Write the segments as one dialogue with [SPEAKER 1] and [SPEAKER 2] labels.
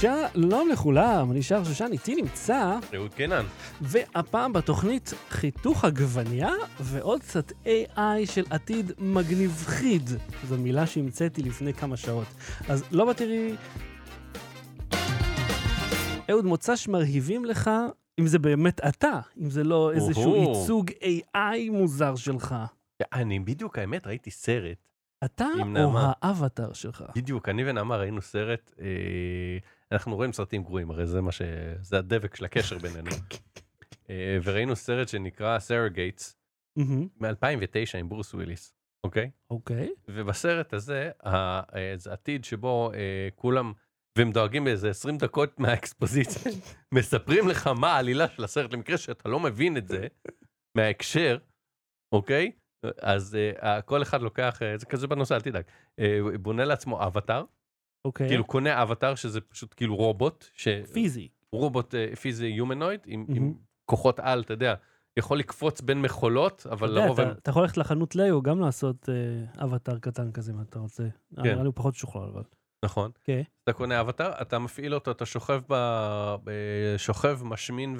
[SPEAKER 1] שלום לכולם, אני שר שושן, איתי נמצא,
[SPEAKER 2] אהוד קינן.
[SPEAKER 1] והפעם בתוכנית חיתוך עגבנייה ועוד קצת AI של עתיד מגניב חיד. זו מילה שהמצאתי לפני כמה שעות. אז לא בתראי... אהוד, מוצ"ש מרהיבים לך, אם זה באמת אתה, אם זה לא איזשהו
[SPEAKER 2] אוהו.
[SPEAKER 1] ייצוג AI מוזר שלך.
[SPEAKER 2] אני בדיוק, האמת, ראיתי סרט.
[SPEAKER 1] אתה
[SPEAKER 2] עם
[SPEAKER 1] או
[SPEAKER 2] נעמה.
[SPEAKER 1] האבטר שלך?
[SPEAKER 2] בדיוק, אני ונעמה ראינו סרט, אה, אנחנו רואים סרטים גרועים, הרי זה מה ש... זה הדבק של הקשר בינינו. אה, וראינו סרט שנקרא סרגייטס,
[SPEAKER 1] מהמם,
[SPEAKER 2] מ-2009 עם ברוס וויליס, אוקיי?
[SPEAKER 1] אוקיי.
[SPEAKER 2] ובסרט הזה, ה- אה, זה עתיד שבו אה, כולם, והם דואגים באיזה 20 דקות מהאקספוזיציה,
[SPEAKER 1] כן.
[SPEAKER 2] מספרים לך מה העלילה של הסרט, למקרה שאתה לא מבין את זה מההקשר, אוקיי? אז אה, כל אחד לוקח, אה, זה כזה בנושא, אל תדאג, אה, הוא בונה לעצמו אבטאר,
[SPEAKER 1] אוקיי.
[SPEAKER 2] כאילו קונה אבטאר שזה פשוט כאילו רובוט, ש...
[SPEAKER 1] פיזי.
[SPEAKER 2] רובוט אה, פיזי הומנויד, עם,
[SPEAKER 1] מהמם.
[SPEAKER 2] עם כוחות על, אתה יודע, יכול לקפוץ בין מכולות, אבל
[SPEAKER 1] אתה יודע,
[SPEAKER 2] לרוב
[SPEAKER 1] אתה-
[SPEAKER 2] הם...
[SPEAKER 1] אתה יכול ללכת לחנות ליו גם לעשות אה, אבטאר קטן כזה אם אתה רוצה. נראה לי הוא פחות שוכלל אבל.
[SPEAKER 2] נכון.
[SPEAKER 1] כן.
[SPEAKER 2] אתה קונה אבטאר, אתה מפעיל אותו, אתה שוכב, ב... ב- שוכב משמין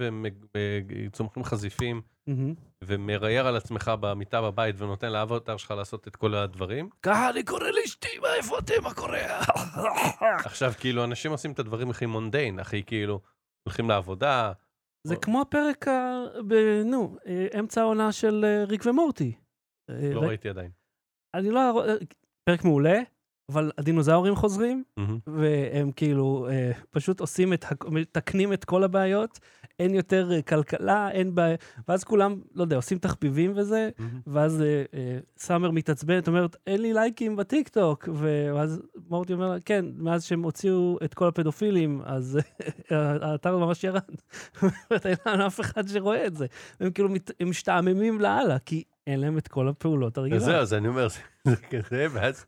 [SPEAKER 2] וצומחים חזיפים
[SPEAKER 1] מהמם.
[SPEAKER 2] ומרייר על עצמך במיטה בבית ונותן לאבטאר שלך לעשות את כל הדברים.
[SPEAKER 1] ככה אני קורא לאשתי, מה איפה אתם, מה קורה?
[SPEAKER 2] עכשיו, כאילו, אנשים עושים את הדברים הכי מונדיין, הכי כאילו, הולכים לעבודה.
[SPEAKER 1] זה כמו הפרק, ה- ב- נו, אה, אמצע העונה של אה, ריק ומורטי. אה,
[SPEAKER 2] לא
[SPEAKER 1] ר-
[SPEAKER 2] ראיתי עדיין.
[SPEAKER 1] אני לא... ארא- אה, פרק מעולה, אבל הדינוזאורים חוזרים,
[SPEAKER 2] מהמם.
[SPEAKER 1] והם כאילו אה, פשוט עושים את, הכ- מתקנים את כל הבעיות, אין יותר אה, כלכלה, אין בעיה, ואז כולם, לא יודע, עושים תחביבים וזה, ואז אה, אה, סאמר מתעצבנת, אומרת, אין לי לייקים בטיקטוק, ואז מורטי אומר לה, כן, מאז שהם הוציאו את כל הפדופילים, אז אה, האתר ממש ירד. אומרת, אין לנו אף אחד שרואה את זה. הם כאילו מת- הם משתעממים לאללה, כי אין להם את כל הפעולות
[SPEAKER 2] אז זהו,
[SPEAKER 1] הרגילות.
[SPEAKER 2] אז אני אומר, זה- זה כזה, ואז,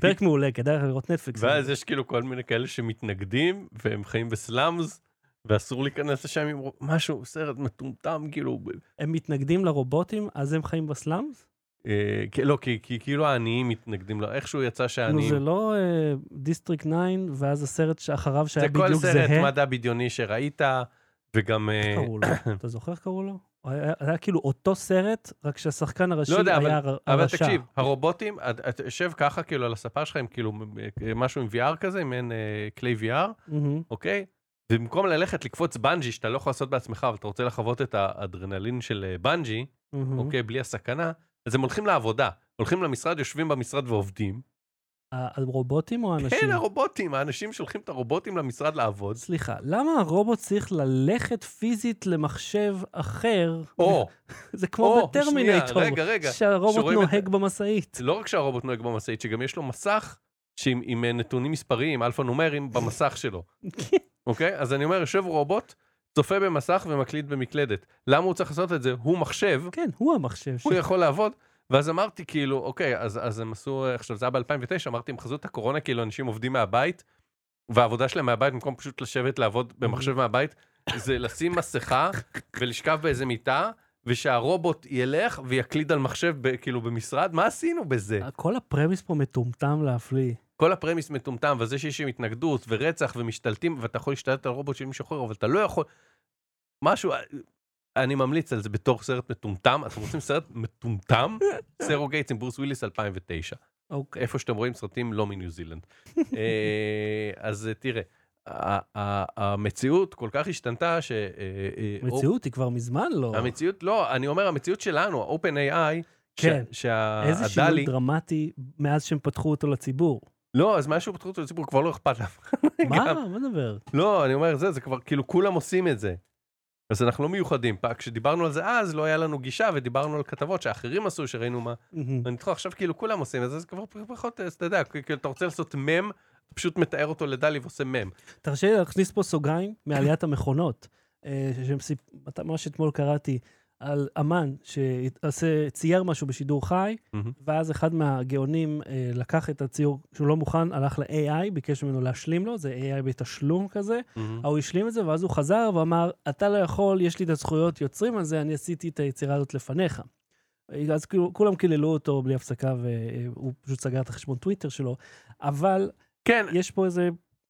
[SPEAKER 1] פרק מעולה, כדאי לך לראות נטפליקס.
[SPEAKER 2] ואז יש כאילו כל מיני כאלה שמתנגדים, והם חיים בסלאמס, ואסור להיכנס לשם עם רוב- משהו, סרט מטומטם, כאילו,
[SPEAKER 1] הם מתנגדים לרובוטים, אז הם חיים בסלאמס?
[SPEAKER 2] אה, כי- לא, כי כי כאילו העניים מתנגדים לו, איכשהו יצא
[SPEAKER 1] נו,
[SPEAKER 2] שהעניים...
[SPEAKER 1] זה לא דיסטריק 9, ואז הסרט שאחריו
[SPEAKER 2] זה
[SPEAKER 1] שהיה
[SPEAKER 2] כל
[SPEAKER 1] בדיוק זהה?
[SPEAKER 2] סרט מדע בדיוני שראית, וגם... אה,
[SPEAKER 1] איך קראו לו? אתה זוכר איך קראו לו? הוא היה היה כאילו אותו סרט, רק שהשחקן הראשי
[SPEAKER 2] לא יודע,
[SPEAKER 1] היה הר- הרשע.
[SPEAKER 2] אבל תקשיב, הרובוטים, את- אתה יושב ככה כאילו על הספה שלך עם כאילו אה, משהו עם VR כזה, עם אין אה, כלי VR,
[SPEAKER 1] מהמם.
[SPEAKER 2] אוקיי? במקום ללכת לקפוץ בנג'י שאתה לא יכול לעשות בעצמך, אבל אתה רוצה לחוות את האדרנלין של אה, בנג'י,
[SPEAKER 1] מהמם.
[SPEAKER 2] אוקיי? בלי הסכנה, אז הם הולכים לעבודה. הולכים למשרד, יושבים במשרד ועובדים.
[SPEAKER 1] ה- הרובוטים או האנשים?
[SPEAKER 2] כן, הרובוטים, האנשים שולחים את הרובוטים למשרד לעבוד.
[SPEAKER 1] סליחה, למה הרובוט צריך ללכת פיזית למחשב אחר?
[SPEAKER 2] או,
[SPEAKER 1] זה כמו
[SPEAKER 2] או,
[SPEAKER 1] בטרמינטור,
[SPEAKER 2] שנייה, רגע, רגע.
[SPEAKER 1] שהרובוט
[SPEAKER 2] שרואים את-
[SPEAKER 1] נוהג במשאית.
[SPEAKER 2] זה לא רק שהרובוט נוהג במשאית, שגם יש לו מסך שעם, עם אה, נתונים מספריים, אלפא נומרים, במסך שלו. אוקיי? אז אני אומר, יושב רובוט, צופה במסך ומקליט במקלדת. למה הוא צריך לעשות את זה? הוא מחשב,
[SPEAKER 1] כן, הוא המחשב.
[SPEAKER 2] הוא
[SPEAKER 1] ש-
[SPEAKER 2] יכול לעבוד. ואז אמרתי, כאילו, אוקיי, אז, אז הם עשו, אה, עכשיו, זה היה ב-2009, אמרתי, עם חזות הקורונה, כאילו, אנשים עובדים מהבית, והעבודה שלהם מהבית, במקום פשוט לשבת לעבוד במחשב מהבית, זה לשים מסכה ולשכב באיזה מיטה, ושהרובוט ילך ויקליד על מחשב, ב, כאילו, במשרד, מה עשינו בזה?
[SPEAKER 1] כל הפרמיס פה מטומטם להפליא.
[SPEAKER 2] כל הפרמיס מטומטם, וזה שיש עם התנגדות ורצח ומשתלטים, ואתה יכול להשתלט על רובוט של מישהו אחר, אבל אתה לא יכול... משהו, אה, אני ממליץ על זה בתור סרט מטומטם. אתם רוצים סרט מטומטם? סרו גייטס עם ברוס וויליס 2009.
[SPEAKER 1] אוקיי.
[SPEAKER 2] איפה שאתם רואים סרטים לא מניו זילנד. אה, אז אה, תראה, ה- ה- המציאות כל כך השתנתה ש... אה, אה,
[SPEAKER 1] המציאות היא כבר מזמן לא.
[SPEAKER 2] או- המציאות, לא, אני אומר, המציאות שלנו, ה-open AI,
[SPEAKER 1] כן. איזה
[SPEAKER 2] שהדלי,
[SPEAKER 1] שינוי דרמטי מאז שהם פתחו אותו לציבור.
[SPEAKER 2] לא, אז משהו פתחו אותו לציבור כבר לא אכפת לאף אחד.
[SPEAKER 1] מה?
[SPEAKER 2] גם-
[SPEAKER 1] מה נדבר?
[SPEAKER 2] לא, אני אומר, זה, זה כבר, כאילו, כולם עושים את זה. אז אנחנו לא מיוחדים. פעם, כשדיברנו על זה אז, לא היה לנו גישה, ודיברנו על כתבות שאחרים עשו, שראינו מה...
[SPEAKER 1] מהמם.
[SPEAKER 2] ואני תוכל, עכשיו כאילו כולם עושים את זה, זה כבר פחות, אז אתה יודע, כאילו, אתה רוצה לעשות מם, אתה פשוט מתאר אותו לדלי ועושה מם.
[SPEAKER 1] תרשה לי להכניס פה סוגריים מעליית המכונות. אה, שהם סיפ- אתה- ממש אתמול קראתי על אמן שצייר משהו בשידור חי,
[SPEAKER 2] מהמם.
[SPEAKER 1] ואז אחד מהגאונים אה, לקח את הציור שהוא לא מוכן, הלך ל-AI, ביקש ממנו להשלים לו, זה AI בתשלום כזה. ההוא השלים את זה, ואז הוא חזר ואמר, אתה לא יכול, יש לי את הזכויות יוצרים על זה, אני עשיתי את היצירה הזאת לפניך. אז כאילו, כולם קיללו אותו בלי הפסקה, והוא פשוט סגר את החשבון טוויטר שלו, אבל
[SPEAKER 2] כן,
[SPEAKER 1] יש פה איזה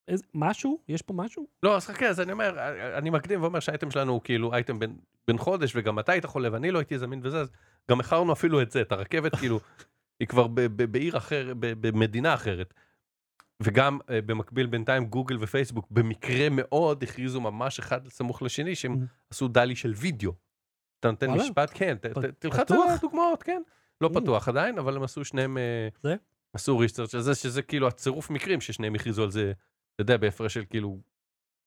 [SPEAKER 1] איזה- משהו? יש פה משהו?
[SPEAKER 2] לא, אז חכה, אז אני אומר, אה, אני מקדים ואומר שהאייטם שלנו הוא כאילו אייטם בן, בן חודש, וגם אתה היית חולה ואני לא הייתי זמין וזה, אז גם איחרנו אפילו את זה, את הרכבת כאילו, היא כבר ב, ב, בעיר אחרת, במדינה אחרת. וגם אה, במקביל בינתיים גוגל ופייסבוק במקרה מאוד הכריזו ממש אחד סמוך לשני שהם
[SPEAKER 1] Mm.
[SPEAKER 2] עשו דלי של וידאו. אתה נותן
[SPEAKER 1] וואלה.
[SPEAKER 2] משפט, כן, ת- ת-
[SPEAKER 1] פ-
[SPEAKER 2] תלחץ על
[SPEAKER 1] פתוח?
[SPEAKER 2] הדוגמאות, כן. לא
[SPEAKER 1] Mm.
[SPEAKER 2] פתוח עדיין, אבל הם עשו שניהם, אה,
[SPEAKER 1] זה?
[SPEAKER 2] עשו ריסטרצ' על זה, שזה כאילו הצירוף מקרים ששניהם הכריזו על זה, אתה יודע, בהפרש של כאילו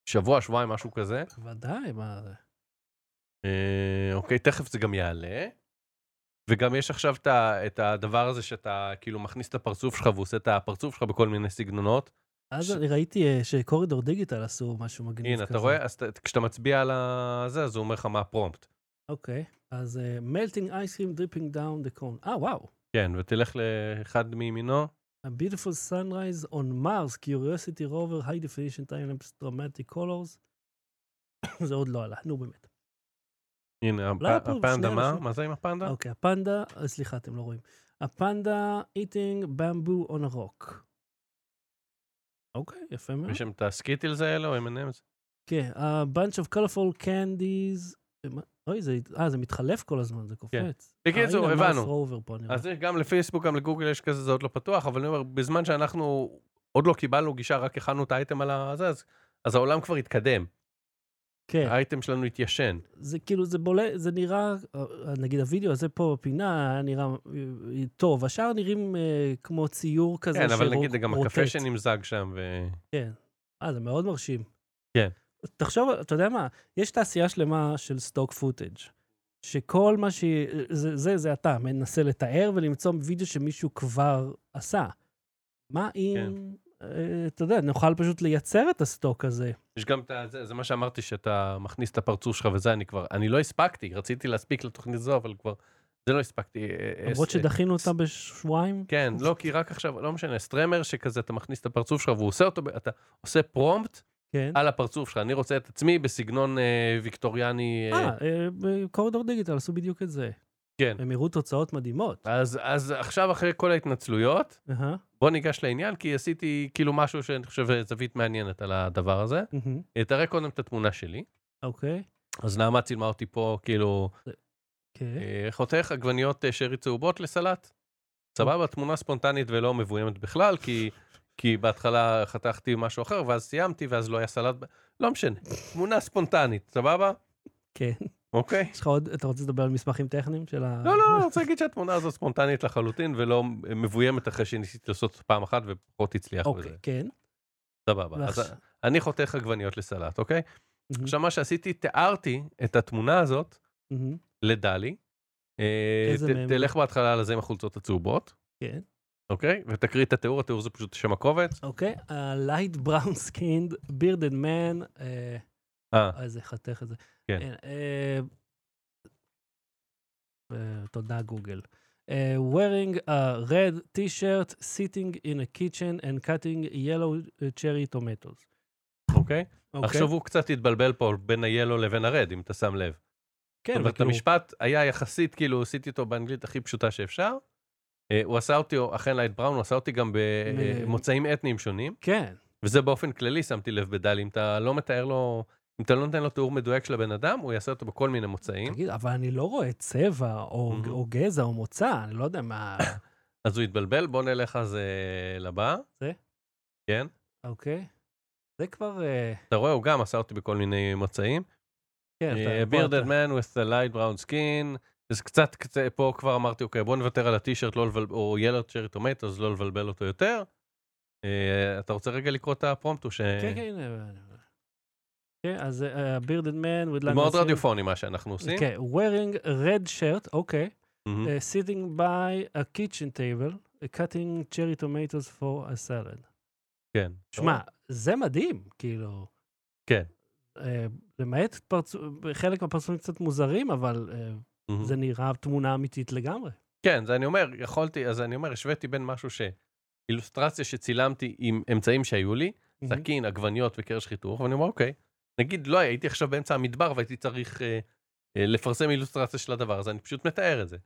[SPEAKER 2] שבוע, שבועיים, משהו כזה.
[SPEAKER 1] ודאי, מה זה?
[SPEAKER 2] אה, אוקיי, תכף זה גם יעלה. וגם יש עכשיו את ה- את הדבר הזה שאתה כאילו מכניס את הפרצוף שלך והוא עושה את הפרצוף שלך בכל מיני סגנונות.
[SPEAKER 1] אז
[SPEAKER 2] ש-
[SPEAKER 1] אני ראיתי אה, שקורידור דיגיטל עשו משהו מגניב
[SPEAKER 2] הנה,
[SPEAKER 1] כזה.
[SPEAKER 2] אתה רואה? אז אתה- כשאתה מצביע על ה- זה, אז הוא אומר לך מה הפרומפט.
[SPEAKER 1] אוקיי, אז מלטינג אייסרים דריפינג דאון דה קון. אה, וואו.
[SPEAKER 2] כן, ותלך לאחד מימינו.
[SPEAKER 1] A beautiful sunrise on Mars, Curiosity rover, high definition time-lapse dramatic colors. זה עוד לא עלה, נו באמת.
[SPEAKER 2] הנה, הפ-
[SPEAKER 1] אולי הפרומפט,
[SPEAKER 2] הפנדה,
[SPEAKER 1] שני
[SPEAKER 2] מה?
[SPEAKER 1] אנשים.
[SPEAKER 2] מה זה עם הפנדה?
[SPEAKER 1] אוקיי, הפנדה, אה, סליחה, אתם לא רואים. הפנדה eating bamboo on a rock. אוקיי, יפה מאוד.
[SPEAKER 2] יש שם את הסקיטילס האלה או M&M's?
[SPEAKER 1] כן, a bunch of colorful candies. מה- אוי, זה, אה, זה מתחלף כל הזמן, זה קופץ.
[SPEAKER 2] כן. בקיצור,
[SPEAKER 1] אה, הנה,
[SPEAKER 2] הבנו.
[SPEAKER 1] מרס רובר פה, נראה.
[SPEAKER 2] אז יש גם לפייסבוק, גם לגוגל יש כזה, זה עוד לא פתוח, אבל אני אומר, בזמן שאנחנו עוד לא קיבלנו גישה, רק הכנו את האייטם על הזה, אז, אז העולם כבר התקדם.
[SPEAKER 1] כן.
[SPEAKER 2] האייטם שלנו התיישן.
[SPEAKER 1] זה כאילו, זה בולט, זה נראה, אה, נגיד הוידאו הזה פה בפינה היה נראה אה, טוב, השאר נראים אה, כמו ציור כזה
[SPEAKER 2] כן, אבל
[SPEAKER 1] שרו-
[SPEAKER 2] נגיד, זה גם הקפה
[SPEAKER 1] רוטט.
[SPEAKER 2] שנמזג שם, ו...
[SPEAKER 1] אה, זה מאוד מרשים.
[SPEAKER 2] כן.
[SPEAKER 1] תחשוב, אתה יודע מה, יש תעשייה שלמה של סטוק פוטאג', שכל מה ש... זה, זה, זה אתה, מנסה לתאר ולמצוא וידאו שמישהו כבר עשה. מה אם,
[SPEAKER 2] כן.
[SPEAKER 1] אה, אתה יודע, נוכל פשוט לייצר את הסטוק הזה.
[SPEAKER 2] יש גם את ה... זה, זה מה שאמרתי, שאתה מכניס את הפרצוף שלך וזה, אני כבר... אני לא הספקתי, רציתי להספיק לתוכנית זו, אבל כבר... זה לא הספקתי. אה,
[SPEAKER 1] למרות
[SPEAKER 2] אה,
[SPEAKER 1] שדחינו אותה בשבועיים.
[SPEAKER 2] כן, לא, כי רק עכשיו, לא משנה, סטרמר שכזה, אתה מכניס את הפרצוף שלך והוא עושה אותו, ב- אתה עושה פרומפט
[SPEAKER 1] כן.
[SPEAKER 2] על הפרצוף שלך. אני רוצה את עצמי בסגנון אה, ויקטוריאני. אה,
[SPEAKER 1] אה, אה, בקורדור דיגיטל עשו בדיוק את זה.
[SPEAKER 2] כן. אה.
[SPEAKER 1] הם הראו תוצאות מדהימות.
[SPEAKER 2] אז, אז עכשיו, אחרי כל ההתנצלויות,
[SPEAKER 1] אהה,
[SPEAKER 2] בוא ניגש לעניין, כי עשיתי כאילו משהו שאני חושב אה, זווית מעניינת על הדבר הזה.
[SPEAKER 1] מהמם,
[SPEAKER 2] אה, תראה קודם את התמונה שלי.
[SPEAKER 1] אוקיי,
[SPEAKER 2] אז נעמה צילמה אותי פה, כאילו,
[SPEAKER 1] כן.
[SPEAKER 2] אה, חותך עגבניות אה, שרי צהובות לסלט. סבבה, תמונה ספונטנית ולא מבוימת בכלל, כי, כי בהתחלה חתכתי משהו אחר, ואז סיימתי, ואז לא היה סלט. ב- לא משנה, תמונה ספונטנית, סבבה?
[SPEAKER 1] כן.
[SPEAKER 2] אוקיי.
[SPEAKER 1] יש לך עוד, אתה רוצה לדבר על מסמכים טכניים של ה...
[SPEAKER 2] לא, לא, אני רוצה להגיד שהתמונה הזו ספונטנית לחלוטין, ולא אה, מבוימת אחרי שניסיתי לעשות פעם אחת ופחות הצליח
[SPEAKER 1] אוקיי,
[SPEAKER 2] בזה.
[SPEAKER 1] כן.
[SPEAKER 2] סבבה. אז
[SPEAKER 1] ועכשיו-
[SPEAKER 2] אני חותך עגבניות לסלט, אוקיי?
[SPEAKER 1] מהמם,
[SPEAKER 2] עכשיו, מה שעשיתי, תיארתי את התמונה הזאת
[SPEAKER 1] מהמם,
[SPEAKER 2] לדלי. אה,
[SPEAKER 1] איזה
[SPEAKER 2] ת-
[SPEAKER 1] מהם?
[SPEAKER 2] תלך בהתחלה לזה עם החולצות הצהובות,
[SPEAKER 1] כן.
[SPEAKER 2] אוקיי? ותקריא את התיאור, התיאור זה פשוט שם הקובץ.
[SPEAKER 1] אוקיי, ה-light brown skinned bearded man, אה,
[SPEAKER 2] אה,
[SPEAKER 1] אה, איזה חתך את זה.
[SPEAKER 2] כן.
[SPEAKER 1] אה, אה, תודה, גוגל. אה, wearing a red t-shirt, sitting in a kitchen and cutting yellow cherry tomatoes.
[SPEAKER 2] אוקיי?
[SPEAKER 1] אוקיי?
[SPEAKER 2] עכשיו הוא קצת התבלבל פה בין היאלו לבין הרד, אם אתה שם לב.
[SPEAKER 1] כן,
[SPEAKER 2] זאת אומרת,
[SPEAKER 1] וכאילו-
[SPEAKER 2] המשפט היה יחסית, כאילו, עשיתי אותו באנגלית הכי פשוטה שאפשר. אה, הוא עשה אותי, או- אכן לייט בראון, הוא עשה אותי גם
[SPEAKER 1] מ-
[SPEAKER 2] במוצאים אתניים שונים,
[SPEAKER 1] כן.
[SPEAKER 2] וזה באופן כללי שמתי לב בדלי, אם אתה לא מתאר לו, אם אתה לא נותן לו תיאור מדויק של הבן אדם, הוא יעשה אותו בכל מיני מוצאים.
[SPEAKER 1] תגיד, אבל אני לא רואה צבע, או,
[SPEAKER 2] Mhm.
[SPEAKER 1] או גזע, או מוצא, אני לא יודע מה...
[SPEAKER 2] אז הוא התבלבל, בוא נלך אז אה, לבא.
[SPEAKER 1] זה?
[SPEAKER 2] כן.
[SPEAKER 1] אוקיי? זה כבר... אה,
[SPEAKER 2] אתה רואה, הוא גם עשה אותי בכל מיני מצעים.
[SPEAKER 1] כן,
[SPEAKER 2] אה,
[SPEAKER 1] אתה...
[SPEAKER 2] bearded man with a light brown skin. אז קצת, קצת, פה כבר אמרתי, אוקיי, בוא נוותר על הטישרט, לא לבלבל, או ילד שרי טומט, אז לא לבלבל אותו יותר. אה, אתה רוצה רגע לקרוא את הפרומפט? הוא ש...
[SPEAKER 1] כן, כן, הנה. כן, אז אה, bearded man with...
[SPEAKER 2] זה
[SPEAKER 1] long
[SPEAKER 2] מאוד
[SPEAKER 1] hair.
[SPEAKER 2] רדיופוני מה שאנחנו עושים.
[SPEAKER 1] כן, wearing a red shirt, אוקיי.
[SPEAKER 2] מהמם.
[SPEAKER 1] אה, sitting by a kitchen table, uh, cutting cherry tomatoes for a salad.
[SPEAKER 2] כן.
[SPEAKER 1] שמע, זה מדהים, כאילו.
[SPEAKER 2] כן.
[SPEAKER 1] אה, למעט פרצו- חלק מהפרצופים קצת מוזרים, אבל אה,
[SPEAKER 2] מהמם.
[SPEAKER 1] זה נראה תמונה אמיתית לגמרי.
[SPEAKER 2] כן, זה אני אומר, יכולתי, אז אני אומר, השוויתי בין משהו ש... אילוסטרציה שצילמתי עם אמצעים שהיו לי,
[SPEAKER 1] Mm-hmm.
[SPEAKER 2] סכין, עגבניות וקרש חיתוך, ואני אומר, אוקיי, נגיד לא הייתי עכשיו באמצע המדבר והייתי צריך אה, אה, לפרסם אילוסטרציה של הדבר הזה, אני פשוט מתאר את זה.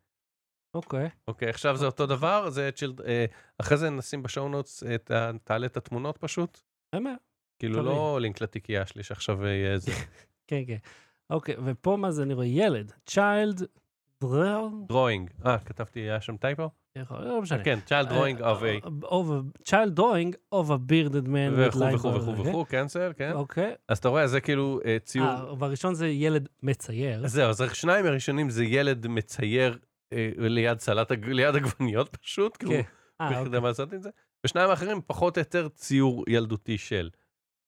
[SPEAKER 1] אוקיי.
[SPEAKER 2] אוקיי, עכשיו זה אותו דבר, זה צ'ילד... אה, אחרי זה נשים בשואו נוטס, את ה- תעלה את התמונות פשוט.
[SPEAKER 1] אין בעיה.
[SPEAKER 2] כאילו
[SPEAKER 1] תמיד.
[SPEAKER 2] לא לינק לתיקייה שלי שעכשיו יהיה איזה
[SPEAKER 1] כן, כן. אוקיי, ופה מה זה אני רואה? ילד, child, drawing,
[SPEAKER 2] דרוינג. אה, כתבתי, היה שם טייפו?
[SPEAKER 1] לא משנה.
[SPEAKER 2] כן, child drawing of a...
[SPEAKER 1] Uh, of a... child drawing of a bearded man. with
[SPEAKER 2] וכו'
[SPEAKER 1] line
[SPEAKER 2] וכו'
[SPEAKER 1] bar-
[SPEAKER 2] וכו' וכו', קנסל, כן.
[SPEAKER 1] אוקיי.
[SPEAKER 2] אז אתה רואה, זה כאילו אה, ציור.
[SPEAKER 1] אה, והראשון זה ילד מצייר.
[SPEAKER 2] אז זהו, אז השניים הראשונים זה ילד מצייר אה, ליד סלט, הג- ליד עגבניות פשוט, כאילו,
[SPEAKER 1] כן. אה,
[SPEAKER 2] איך
[SPEAKER 1] אוקיי.
[SPEAKER 2] יודע מה לעשות עם זה? ושניים האחרים פחות או יותר ציור ילדותי של.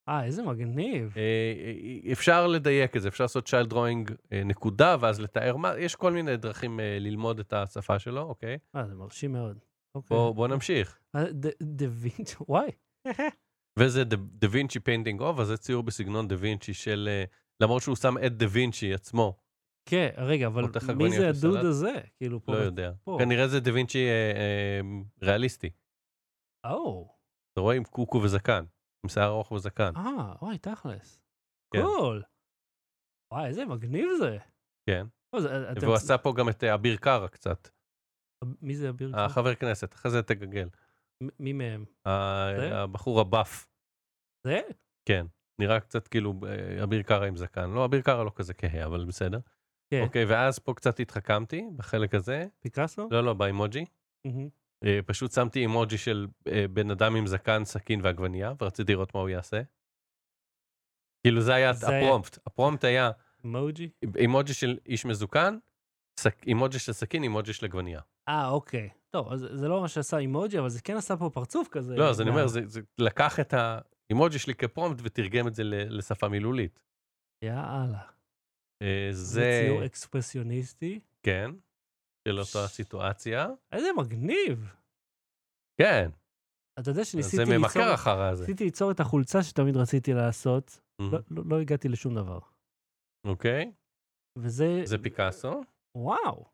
[SPEAKER 1] אה, איזה מגניב.
[SPEAKER 2] אה, אה, אפשר לדייק את זה, אפשר לעשות child drawing אה, נקודה, ואז לתאר מה, יש כל מיני דרכים אה, ללמוד את השפה שלו, אוקיי?
[SPEAKER 1] אה, זה מרשים מאוד. אוקיי.
[SPEAKER 2] בואו בוא נמשיך.
[SPEAKER 1] אה, ד- דה וינצ'י, וואי.
[SPEAKER 2] וזה דה- דה וינצ'י פיינטינג אוף, אז זה ציור בסגנון דה וינצ'י של... אה, למרות שהוא שם את דה וינצ'י עצמו,
[SPEAKER 1] כן, רגע, אבל
[SPEAKER 2] פותח
[SPEAKER 1] מי
[SPEAKER 2] עגבניות
[SPEAKER 1] זה הדוד
[SPEAKER 2] לסלט?
[SPEAKER 1] הזה? כאילו פה...
[SPEAKER 2] לא יודע.
[SPEAKER 1] פה.
[SPEAKER 2] כנראה זה דה וינצ'י אה, אה, ריאליסטי.
[SPEAKER 1] או,
[SPEAKER 2] אתה רואה עם קוקו וזקן, עם שיער ארוך וזקן.
[SPEAKER 1] אה, וואי, תכלס.
[SPEAKER 2] כן.
[SPEAKER 1] קול. וואי, איזה מגניב זה.
[SPEAKER 2] כן.
[SPEAKER 1] לא, זה- אתם-
[SPEAKER 2] והוא עשה אה, פה גם את אה, אביר קארה קצת,
[SPEAKER 1] מי זה אביר? קארה?
[SPEAKER 2] החבר כנסת, אחרי זה תגגל.
[SPEAKER 1] מ- מי מהם?
[SPEAKER 2] ה-
[SPEAKER 1] זה?
[SPEAKER 2] הבחור הבף,
[SPEAKER 1] זה?
[SPEAKER 2] כן. נראה קצת כאילו אה, אביר קארה עם זקן. לא, אביר קארה לא כזה כהה, אבל בסדר.
[SPEAKER 1] כן.
[SPEAKER 2] אוקיי, ואז פה קצת התחכמתי בחלק הזה.
[SPEAKER 1] פיקאסו?
[SPEAKER 2] לא, לא, באימוג'י.
[SPEAKER 1] מהמם.
[SPEAKER 2] אה, פשוט שמתי אימוג'י של אה, בן אדם עם זקן, סכין ועגבנייה, ורציתי לראות מה הוא יעשה. כאילו זה היה
[SPEAKER 1] זה היה-
[SPEAKER 2] הפרומפט. הפרומפט היה
[SPEAKER 1] אמוג'י?
[SPEAKER 2] אימוג'י של איש מזוקן, סק- אימוג'י של סכין, אימוג'י של עגבנייה.
[SPEAKER 1] אה, אוקיי. טוב, אז זה לא מה שעשה אימוג'י, אבל זה כן עשה פה פרצוף כזה.
[SPEAKER 2] לא, אז אני אומר,
[SPEAKER 1] מה-
[SPEAKER 2] זה זה לקח את האימוג'י שלי כפרומפט ותרגם את זה ל- לשפה מילולית.
[SPEAKER 1] יאללה.
[SPEAKER 2] אה,
[SPEAKER 1] זה
[SPEAKER 2] זה,
[SPEAKER 1] ציור אקספרסיוניסטי.
[SPEAKER 2] כן, של אותה הסיטואציה.
[SPEAKER 1] איזה מגניב.
[SPEAKER 2] כן,
[SPEAKER 1] אתה יודע
[SPEAKER 2] אז
[SPEAKER 1] שניסיתי
[SPEAKER 2] זה
[SPEAKER 1] ליצור...
[SPEAKER 2] ממכר אחר Mm. הזה.
[SPEAKER 1] ניסיתי ליצור את החולצה שתמיד רציתי לעשות,
[SPEAKER 2] מהמם.
[SPEAKER 1] לא- לא לא הגעתי לשום דבר.
[SPEAKER 2] אוקיי,
[SPEAKER 1] וזה...
[SPEAKER 2] זה
[SPEAKER 1] אה,
[SPEAKER 2] פיקאסו.
[SPEAKER 1] וואו.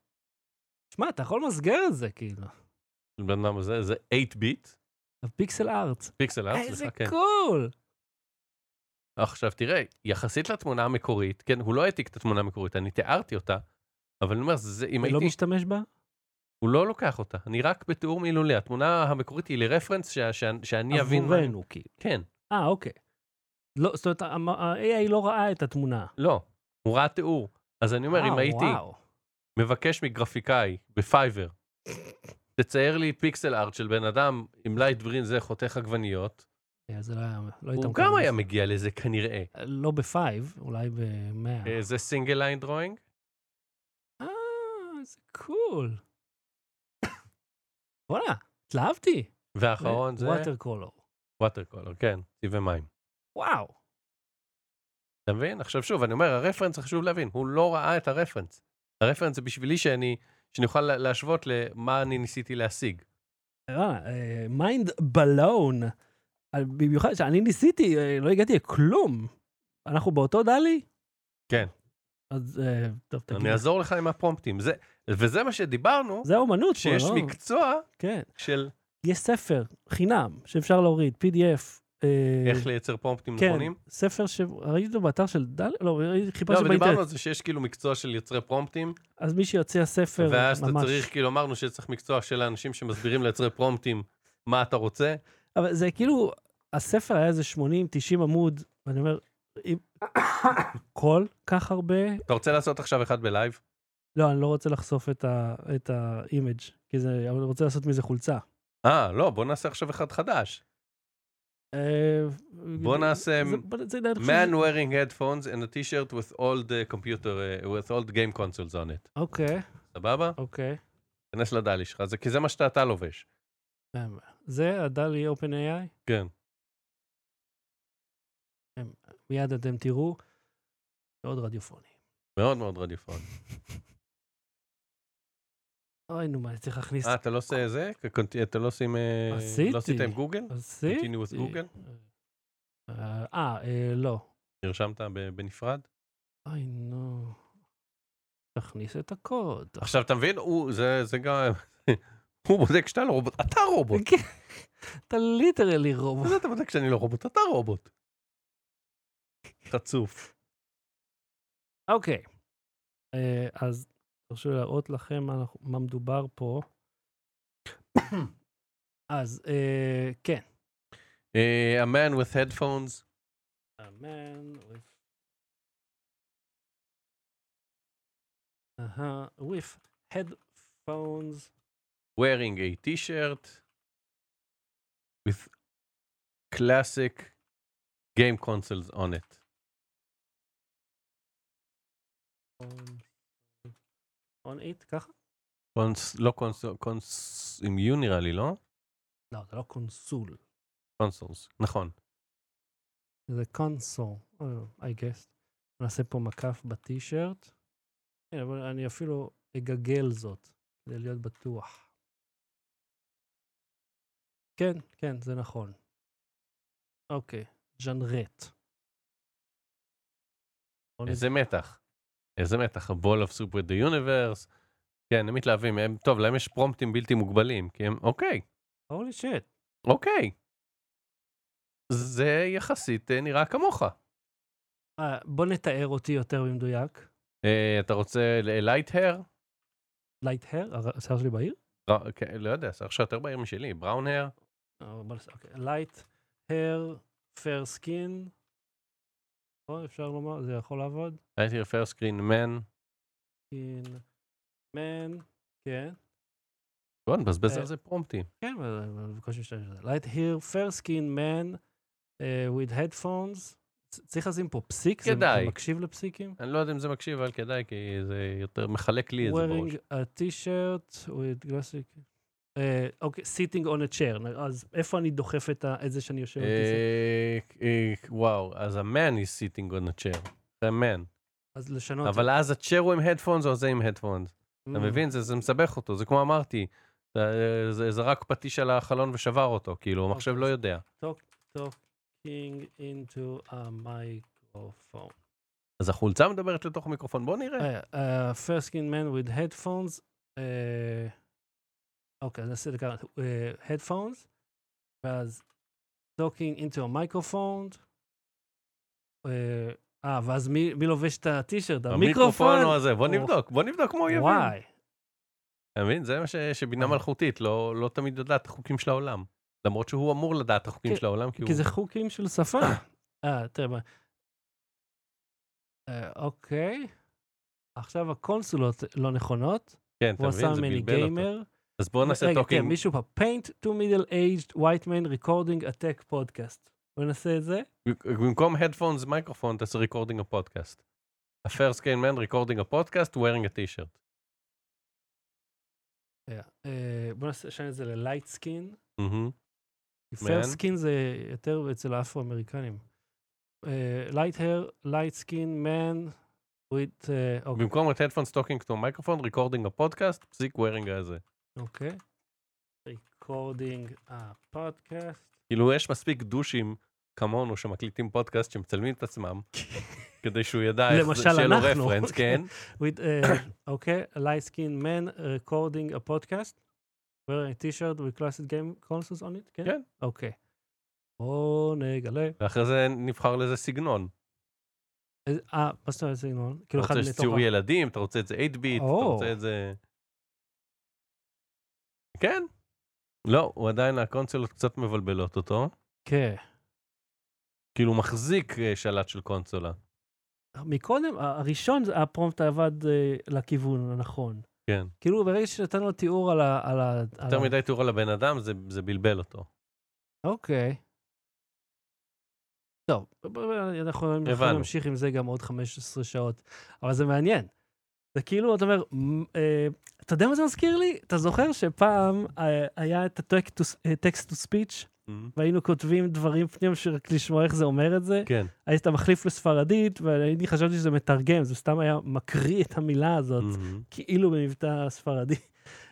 [SPEAKER 1] שמע, אתה יכול למסגר את זה, כאילו.
[SPEAKER 2] בן אדם הזה, זה 8 ביט,
[SPEAKER 1] הפיקסל ארט.
[SPEAKER 2] פיקסל ארט,
[SPEAKER 1] איזה
[SPEAKER 2] סליחה, כן.
[SPEAKER 1] קול!
[SPEAKER 2] עכשיו תראה, יחסית לתמונה המקורית, כן, הוא לא העתיק את התמונה המקורית, אני תיארתי אותה, אבל אני אומר, זה- אם
[SPEAKER 1] לא
[SPEAKER 2] הייתי
[SPEAKER 1] משתמש בה?
[SPEAKER 2] הוא לא לוקח אותה, אני רק בתיאור מילולי. התמונה המקורית היא לרפרנס ש- ש- שאני אבין. מה-
[SPEAKER 1] עבורנו, כאילו.
[SPEAKER 2] כן,
[SPEAKER 1] אה, אוקיי. לא, זאת אומרת, המ- ה-AI לא ראה את התמונה.
[SPEAKER 2] לא, הוא ראה תיאור. אז אני אומר, אם
[SPEAKER 1] אה,
[SPEAKER 2] הייתי
[SPEAKER 1] וואו.
[SPEAKER 2] מבקש מגרפיקאי בפייבר, תצייר לי פיקסל ארט של בן אדם עם לייט ברין זה חותך עגבניות,
[SPEAKER 1] אה, זה לא היה... לא הייתם
[SPEAKER 2] הוא גם
[SPEAKER 1] מקבלים
[SPEAKER 2] היה
[SPEAKER 1] את
[SPEAKER 2] מגיע לזה כנראה.
[SPEAKER 1] זה. לא בפייב, אולי במאה.
[SPEAKER 2] אה, זה סינגל ליין דרוינג?
[SPEAKER 1] אה, איזה קול. וואלה, התלהבתי.
[SPEAKER 2] והאחרון זה?
[SPEAKER 1] וואטר קולור.
[SPEAKER 2] וואטר קולר, כן, צבעי מים.
[SPEAKER 1] וואו.
[SPEAKER 2] אתה מבין? עכשיו שוב, אני אומר, הרפרנס חשוב להבין, הוא לא ראה את הרפרנס. הרפרנס זה בשבילי שאני, שאני אוכל לה- להשוות למה אני ניסיתי להשיג.
[SPEAKER 1] אה, מיינד בלון. אה, במיוחד שאני ניסיתי, אה, לא הגעתי לכלום. אנחנו באותו דלי?
[SPEAKER 2] כן.
[SPEAKER 1] אז אה, טוב, תגיד.
[SPEAKER 2] אני אעזור לך עם הפרומפטים. זה, וזה מה שדיברנו,
[SPEAKER 1] זה האומנות פה,
[SPEAKER 2] שיש
[SPEAKER 1] לא?
[SPEAKER 2] מקצוע
[SPEAKER 1] כן.
[SPEAKER 2] של
[SPEAKER 1] יש ספר חינם שאפשר להוריד, PDF. אה,
[SPEAKER 2] איך לייצר פרומפטים
[SPEAKER 1] כן,
[SPEAKER 2] נכונים.
[SPEAKER 1] ספר שראיתי אותו באתר של דל... לא, ראיתי-
[SPEAKER 2] לא,
[SPEAKER 1] חיפשתי
[SPEAKER 2] אבל דיברנו על
[SPEAKER 1] באינטרנט.
[SPEAKER 2] זה שיש כאילו מקצוע של יוצרי פרומפטים,
[SPEAKER 1] אז מי שיוצא ספר,
[SPEAKER 2] ואז אתה
[SPEAKER 1] ממש.
[SPEAKER 2] צריך, כאילו אמרנו שצריך מקצוע של האנשים שמסבירים ליוצרי פרומפטים מה אתה רוצה.
[SPEAKER 1] אבל זה כאילו, הספר היה איזה 80-90 עמוד, ואני אומר, אם... כל כך הרבה,
[SPEAKER 2] אתה רוצה לעשות עכשיו אחד בלייב?
[SPEAKER 1] לא, אני לא רוצה לחשוף את ה- את האימג', כי זה, אבל אני רוצה לעשות מזה חולצה.
[SPEAKER 2] אה, לא, בוא נעשה עכשיו אחד חדש.
[SPEAKER 1] אה,
[SPEAKER 2] בוא נעשה
[SPEAKER 1] זה- בוא- זה- אני חושב
[SPEAKER 2] Man
[SPEAKER 1] שזה-
[SPEAKER 2] wearing headphones and a t-shirt with all the computer, uh, with all the game consoles on it.
[SPEAKER 1] אוקיי,
[SPEAKER 2] סבבה?
[SPEAKER 1] אוקיי.
[SPEAKER 2] כנס לדלי שלך, זה- כי זה מה שאתה אתה לובש.
[SPEAKER 1] זה הדלי OpenAI,
[SPEAKER 2] כן.
[SPEAKER 1] מיד אתם תראו, מאוד רדיופוני.
[SPEAKER 2] מאוד מאוד רדיפון.
[SPEAKER 1] אוי, נו, מה, אני צריך להכניס...
[SPEAKER 2] אה, אתה לא עושה זה? קונט- אתה לא עושים... אה,
[SPEAKER 1] עשיתי.
[SPEAKER 2] לא עשית עם גוגל?
[SPEAKER 1] עשיתי.
[SPEAKER 2] Continue with Google?
[SPEAKER 1] אה, אה, לא.
[SPEAKER 2] נרשמת ב- בנפרד?
[SPEAKER 1] אוי, נו. תכניס את הקוד.
[SPEAKER 2] עכשיו, אתה מבין? הוא, זה זה גם... הוא בודק שאתה לא רובוט, אתה רובוט.
[SPEAKER 1] כן. אתה ליטרלי רוב.
[SPEAKER 2] מה זה אתה בודק שאני לא רובוט? אתה רובוט. חצוף.
[SPEAKER 1] אוקיי. אה, אז תרשו לי להראות לכם מה אנחנו- מה מדובר פה. אז כן. אה, כן,
[SPEAKER 2] אה, A man אה, with headphones
[SPEAKER 1] a man with... Uh-huh, with headphones.
[SPEAKER 2] wearing a t-shirt with classic game consoles on it.
[SPEAKER 1] on- on it, ככה?
[SPEAKER 2] קונס, לא קונסול, קונס עם יו נראה לי, לא?
[SPEAKER 1] לא, זה לא קונסול.
[SPEAKER 2] קונסולס, נכון.
[SPEAKER 1] זה קונסול, I guess. נעשה פה מקף בטישרט. כן, אבל אני אפילו אגגל זאת, כדי להיות בטוח. כן, כן, זה נכון. אוקיי, ז'אנרט. בוא
[SPEAKER 2] איזה מתח. איזה מתח, ה-ball of super the universe. כן, הם מתלהבים, הם, טוב, להם יש פרומפטים בלתי מוגבלים, כי הם, אוקיי,
[SPEAKER 1] הולי שיט.
[SPEAKER 2] אוקיי. זה יחסית אה, נראה כמוך.
[SPEAKER 1] אה, בוא נתאר אותי יותר במדויק.
[SPEAKER 2] אה, אתה רוצה לייט הר?
[SPEAKER 1] לייט הר, השיער שלי בעיר?
[SPEAKER 2] לא יודע, זה עכשיו יותר בעיר משלי, בראון הר?
[SPEAKER 1] אה, בוא נס- אוקיי, לייט הר, פייר סקין. אפשר לומר, זה יכול לעבוד.
[SPEAKER 2] לייט הר פייר סקרין מן.
[SPEAKER 1] סקין, מן, כן.
[SPEAKER 2] בוא נבזבז
[SPEAKER 1] אה,
[SPEAKER 2] על זה פרומפטים.
[SPEAKER 1] כן, אבל- אבל בקושי משתמש בזה. Light here, fair skin man uh, with headphones. צ- צריך לשים פה פסיק? זה-
[SPEAKER 2] כדאי.
[SPEAKER 1] זה מקשיב לפסיקים?
[SPEAKER 2] אני לא יודע אם זה מקשיב, אבל כדאי, כי זה יותר מחלק לי את זה בראש.
[SPEAKER 1] wearing a t-shirt with glassic. אה, אוקיי, sitting on a chair. נ- אז איפה אני דוחף את ה- את זה שאני יושב? על הכיסא?
[SPEAKER 2] אה, אה, וואו, אז ה-man is sitting on a chair. זה man.
[SPEAKER 1] אוקיי. אז לשנות.
[SPEAKER 2] אבל אז ה-chair הוא עם headphones או זה עם headphones. אתה
[SPEAKER 1] Mm.
[SPEAKER 2] מבין? זה זה מסבך אותו. זה כמו אמרתי, זה- זה זרק פטיש על החלון ושבר אותו, כאילו, המחשב
[SPEAKER 1] אוקיי.
[SPEAKER 2] לא יודע.
[SPEAKER 1] talking into a microphone.
[SPEAKER 2] אז החולצה מדברת לתוך המיקרופון, בוא נראה.
[SPEAKER 1] אה, אה, fair skin man with headphones. אה, אוקיי, אז נעשה את זה ככה. אה, headphones, ואז talking into a microphone. אה, אה, ואז מי מי לובש את הטישרט? המיקרופון?
[SPEAKER 2] המיקרופון או הזה, בוא
[SPEAKER 1] או-
[SPEAKER 2] נבדוק, בוא נבדוק כמו יבין.
[SPEAKER 1] וואי. אה.
[SPEAKER 2] אתה מבין? זה מה ש- שבינה מלאכותית, לא לא תמיד יודעת את החוקים של העולם. למרות שהוא אמור לדעת את החוקים
[SPEAKER 1] כי-
[SPEAKER 2] של העולם, כי הוא...
[SPEAKER 1] כי זה חוקים של שפה. אה, תראה מה. אה, אוקיי. עכשיו הקונסולות לא נכונות.
[SPEAKER 2] כן, אתה
[SPEAKER 1] הוא עשה
[SPEAKER 2] מבין? זה
[SPEAKER 1] ממני
[SPEAKER 2] בלבל אותו.
[SPEAKER 1] גיימר.
[SPEAKER 2] אז בואו נעשה
[SPEAKER 1] רגע, כן,
[SPEAKER 2] טוקינג.
[SPEAKER 1] מישהו פה, paint to middle aged white man recording a tech podcast. בוא נעשה את זה.
[SPEAKER 2] במקום headphones מייקרופון תעשה recording a podcast. A first game man recording a podcast wearing a t-shirt.
[SPEAKER 1] אה, בוא נעשה נשנה את זה ללייט סקין.
[SPEAKER 2] מהמם.
[SPEAKER 1] פייר
[SPEAKER 2] מעניין.
[SPEAKER 1] סקין זה יותר אצל האפרו-אמריקנים. אה, לייט הר, לייט סקין, מן, with... אה, אוקיי,
[SPEAKER 2] במקום את headphones talking to microphone recording a podcast פסיק wearing a זה.
[SPEAKER 1] אוקיי. ריקורדינג הפודקאסט.
[SPEAKER 2] כאילו יש מספיק דושים כמונו שמקליטים פודקאסט שמצלמים את עצמם כדי שהוא ידע איך זה,
[SPEAKER 1] למשל
[SPEAKER 2] שיהיה לו
[SPEAKER 1] אנחנו.
[SPEAKER 2] רפרנס, כן?
[SPEAKER 1] with, אה, אוקיי, לייט סקין, מן, ריקורדינג הפודקאסט. wearing a t-shirt with classic game consoles on it, כן?
[SPEAKER 2] כן.
[SPEAKER 1] אוקיי. בואו נגלה.
[SPEAKER 2] ואחרי זה נבחר לזה סגנון.
[SPEAKER 1] אה, מה זאת אומרת סגנון?
[SPEAKER 2] אתה
[SPEAKER 1] כאילו אחד
[SPEAKER 2] רוצה
[SPEAKER 1] לתוך...
[SPEAKER 2] ציור ילדים, אתה רוצה את זה 8 ביט, אתה
[SPEAKER 1] או.
[SPEAKER 2] רוצה את זה... כן. לא, הוא עדיין, הקונסולות קצת מבלבלות אותו.
[SPEAKER 1] כן.
[SPEAKER 2] כאילו מחזיק אה, שלט של קונסולה.
[SPEAKER 1] מקודם, ה- הראשון, זה- הפרומפט עבד אה, לכיוון הנכון.
[SPEAKER 2] כן.
[SPEAKER 1] כאילו, ברגע שנתנו לו תיאור על ה... על ה על
[SPEAKER 2] יותר
[SPEAKER 1] ה-
[SPEAKER 2] מדי תיאור על הבן אדם, זה, זה בלבל אותו.
[SPEAKER 1] אוקיי. טוב, ב- ב- ב- אנחנו יכולים
[SPEAKER 2] הבנו.
[SPEAKER 1] להמשיך עם זה גם עוד 15 שעות, אבל זה מעניין. זה כאילו, אתה אומר, מ- אה, אתה יודע מה זה מזכיר לי? אתה זוכר שפעם אה, היה את ה-text to speech, והיינו כותבים דברים פנימה שרק לשמוע איך זה אומר את זה?
[SPEAKER 2] כן.
[SPEAKER 1] אז אתה מחליף לספרדית, ואני חשבתי שזה מתרגם, זה סתם היה מקריא את המילה הזאת,
[SPEAKER 2] מהמם.
[SPEAKER 1] כאילו במבטא ספרדי.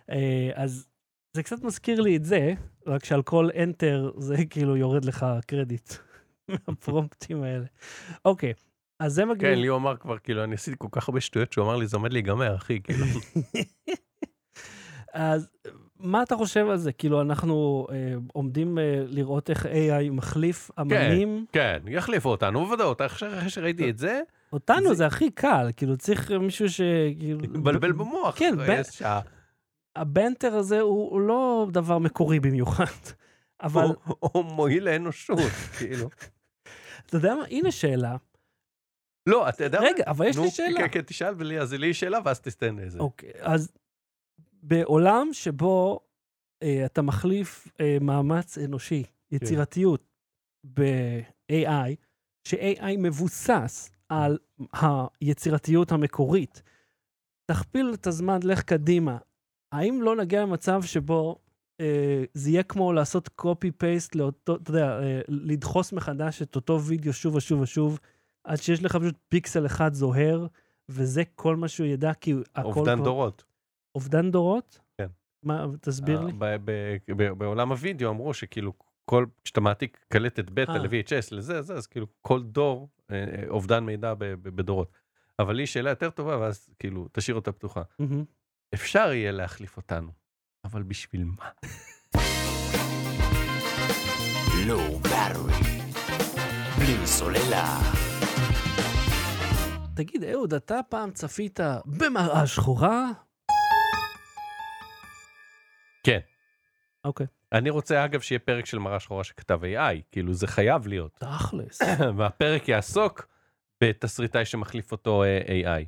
[SPEAKER 1] אה, אז זה קצת מזכיר לי את זה, רק שעל כל enter זה כאילו יורד לך קרדיט מהפרומפטים האלה. אוקיי, אז זה מגניב.
[SPEAKER 2] כן, לי הוא אמר כבר, כאילו, אני עשיתי כל כך הרבה שטויות שהוא אמר לי, זה עומד להיגמר, אחי, כאילו.
[SPEAKER 1] אז מה אתה חושב על זה? כאילו, אנחנו אה, עומדים אה, לראות איך AI מחליף אמנים.
[SPEAKER 2] כן, יחליפו אותנו, בוודאות, עכשיו אחרי שראיתי את זה,
[SPEAKER 1] אותנו
[SPEAKER 2] זה-
[SPEAKER 1] זה הכי קל, כאילו, צריך מישהו ש... כאילו-
[SPEAKER 2] בלבל במוח.
[SPEAKER 1] כן,
[SPEAKER 2] אחרי
[SPEAKER 1] ב-
[SPEAKER 2] איזה שעה.
[SPEAKER 1] הבנטר הזה הוא, הוא לא דבר מקורי במיוחד, אבל,
[SPEAKER 2] הוא- הוא מועיל לאנושות, כאילו.
[SPEAKER 1] אתה יודע מה? הנה שאלה.
[SPEAKER 2] לא, אתה יודע... מה?
[SPEAKER 1] רגע, אבל יש
[SPEAKER 2] נו,
[SPEAKER 1] לי שאלה.
[SPEAKER 2] כן, כן, תשאל, ולי- אז לי יש שאלה, ואז תסתן לזה.
[SPEAKER 1] אוקיי, אז בעולם שבו אה, אתה מחליף אה, מאמץ אנושי, יצירתיות, ב-AI, ש-AI מבוסס על היצירתיות המקורית, תכפיל את הזמן, לך קדימה. האם לא נגיע למצב שבו אה, זה יהיה כמו לעשות copy-paste לאותו, אתה יודע, אה, לדחוס מחדש את אותו וידאו שוב ושוב ושוב, עד שיש לך פשוט פיקסל אחד זוהר, וזה כל מה שהוא ידע, כי הכל
[SPEAKER 2] אובדן
[SPEAKER 1] כבר...
[SPEAKER 2] דורות.
[SPEAKER 1] אובדן דורות?
[SPEAKER 2] כן.
[SPEAKER 1] מה, תסביר
[SPEAKER 2] אה,
[SPEAKER 1] לי.
[SPEAKER 2] ב- ב- ב- בעולם הוידאו אמרו שכאילו, כל, כשאתה מעתיק קלטת בטא
[SPEAKER 1] אה.
[SPEAKER 2] ל-VHS לזה, זה, אז כאילו כל דור אה, אה, אובדן מידע ב- ב- בדורות. אבל לי שאלה יותר טובה, ואז כאילו, תשאיר אותה פתוחה.
[SPEAKER 1] מהמם.
[SPEAKER 2] אפשר יהיה להחליף אותנו, אבל בשביל מה?
[SPEAKER 3] Low battery. לא בלי סוללה.
[SPEAKER 1] תגיד, אהוד, אתה פעם צפית במראה שחורה?
[SPEAKER 2] כן.
[SPEAKER 1] אוקיי.
[SPEAKER 2] אני רוצה, אגב, שיהיה פרק של מראה שחורה שכתב AI, כאילו, זה חייב להיות.
[SPEAKER 1] תכלס.
[SPEAKER 2] והפרק יעסוק בתסריטאי שמחליף אותו אה, AI,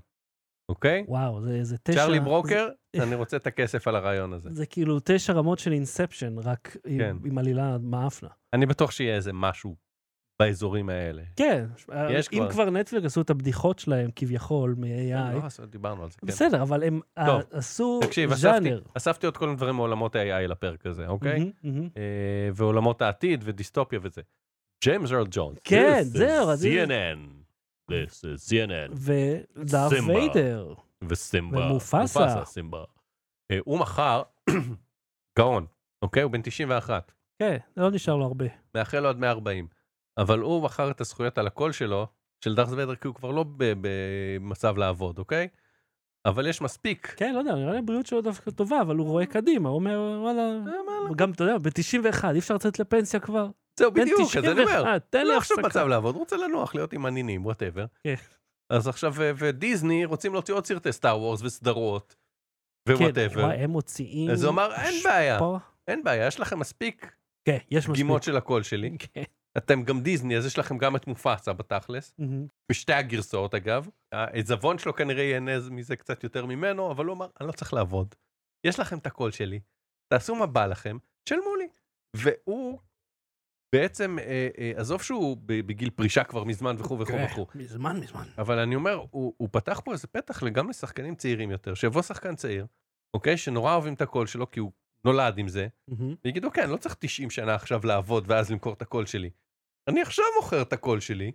[SPEAKER 2] אוקיי?
[SPEAKER 1] וואו, זה, זה תשע...
[SPEAKER 2] צ'רלי ברוקר, אני רוצה את הכסף על הרעיון הזה.
[SPEAKER 1] זה, זה כאילו תשע רמות של אינספשן, רק
[SPEAKER 2] כן.
[SPEAKER 1] עם, עם עלילה מאפנה.
[SPEAKER 2] אני בטוח שיהיה איזה משהו באזורים האלה.
[SPEAKER 1] כן,
[SPEAKER 2] יש
[SPEAKER 1] אם
[SPEAKER 2] כבר.
[SPEAKER 1] כבר נטפליקס עשו את הבדיחות שלהם כביכול מ-AI,
[SPEAKER 2] לא, אז דיברנו על זה, כן.
[SPEAKER 1] בסדר, אבל הם
[SPEAKER 2] טוב.
[SPEAKER 1] אה, עשו
[SPEAKER 2] תקשיב, אספתי-
[SPEAKER 1] ז'אנר.
[SPEAKER 2] אספתי עוד כל מיני דברים מעולמות ה-AI לפרק הזה, אוקיי?
[SPEAKER 1] מהמם, מהמם.
[SPEAKER 2] אה, ועולמות העתיד ודיסטופיה וזה. ג'יימס ארל ג'ונס.
[SPEAKER 1] כן,
[SPEAKER 2] This is
[SPEAKER 1] זהו, אז-
[SPEAKER 2] CNN. This is CNN.
[SPEAKER 1] ודארף
[SPEAKER 2] סימבה.
[SPEAKER 1] ויידר.
[SPEAKER 2] וסימבה.
[SPEAKER 1] ומופסה.
[SPEAKER 2] סימבה. אה, הוא מכר, גאון, אוקיי? הוא בן 91.
[SPEAKER 1] כן, לא נשאר לו הרבה.
[SPEAKER 2] מאחל לו עד 140. אבל הוא מכר את הזכויות על הקול שלו, של דארס ויידר, כי הוא כבר לא ב- במצב לעבוד, אוקיי? אבל יש מספיק.
[SPEAKER 1] כן, לא יודע, נראה לי הבריאות שלו דווקא טובה, אבל הוא רואה קדימה, הוא אומר, וואלה,
[SPEAKER 2] אה, מה לא?
[SPEAKER 1] גם, אתה יודע, ב-91, אי אפשר לצאת לפנסיה כבר.
[SPEAKER 2] זהו,
[SPEAKER 1] בן
[SPEAKER 2] בדיוק, אז אני אומר.
[SPEAKER 1] 91, תן
[SPEAKER 2] אין
[SPEAKER 1] לי
[SPEAKER 2] לו עכשיו
[SPEAKER 1] הפסקה.
[SPEAKER 2] מצב לא לעבוד, הוא רוצה לנוח, להיות עם הנינים, וואטאבר.
[SPEAKER 1] כן.
[SPEAKER 2] אז עכשיו, ו- ודיסני רוצים להוציא עוד סרטי סטאר וורס וסדרות,
[SPEAKER 1] כן,
[SPEAKER 2] ווואטאבר.
[SPEAKER 1] וואי, הם מוציאים...
[SPEAKER 2] אז הוא אמר, אין
[SPEAKER 1] אשפה.
[SPEAKER 2] בעיה, אין בעיה, יש לכם מספיק
[SPEAKER 1] כן, יש מספיק.
[SPEAKER 2] דגימות של הקול שלי.
[SPEAKER 1] כן.
[SPEAKER 2] אתם גם דיסני, אז יש לכם גם את מופסה בתכלס.
[SPEAKER 1] מהמם.
[SPEAKER 2] בשתי הגרסאות אגב. העיזבון שלו כנראה ייהנה מזה קצת יותר ממנו, אבל הוא אמר, אני לא צריך לעבוד. יש לכם את הקול שלי, תעשו מה בא לכם, תשלמו לי. והוא בעצם, אה, אה, עזוב שהוא ב- בגיל פרישה כבר מזמן וכו' וכו'
[SPEAKER 1] כן,
[SPEAKER 2] וכו',
[SPEAKER 1] מזמן, מזמן.
[SPEAKER 2] אבל אני אומר, הוא, הוא פתח פה איזה פתח גם לשחקנים צעירים יותר, שיבוא שחקן צעיר, אוקיי, שנורא אוהבים את הקול שלו כי הוא נולד עם זה,
[SPEAKER 1] מהמם.
[SPEAKER 2] ויגידו, כן, לא צריך 90 שנה עכשיו לעבוד ואז למכור את הקול שלי. אני עכשיו מוכר את הקול שלי,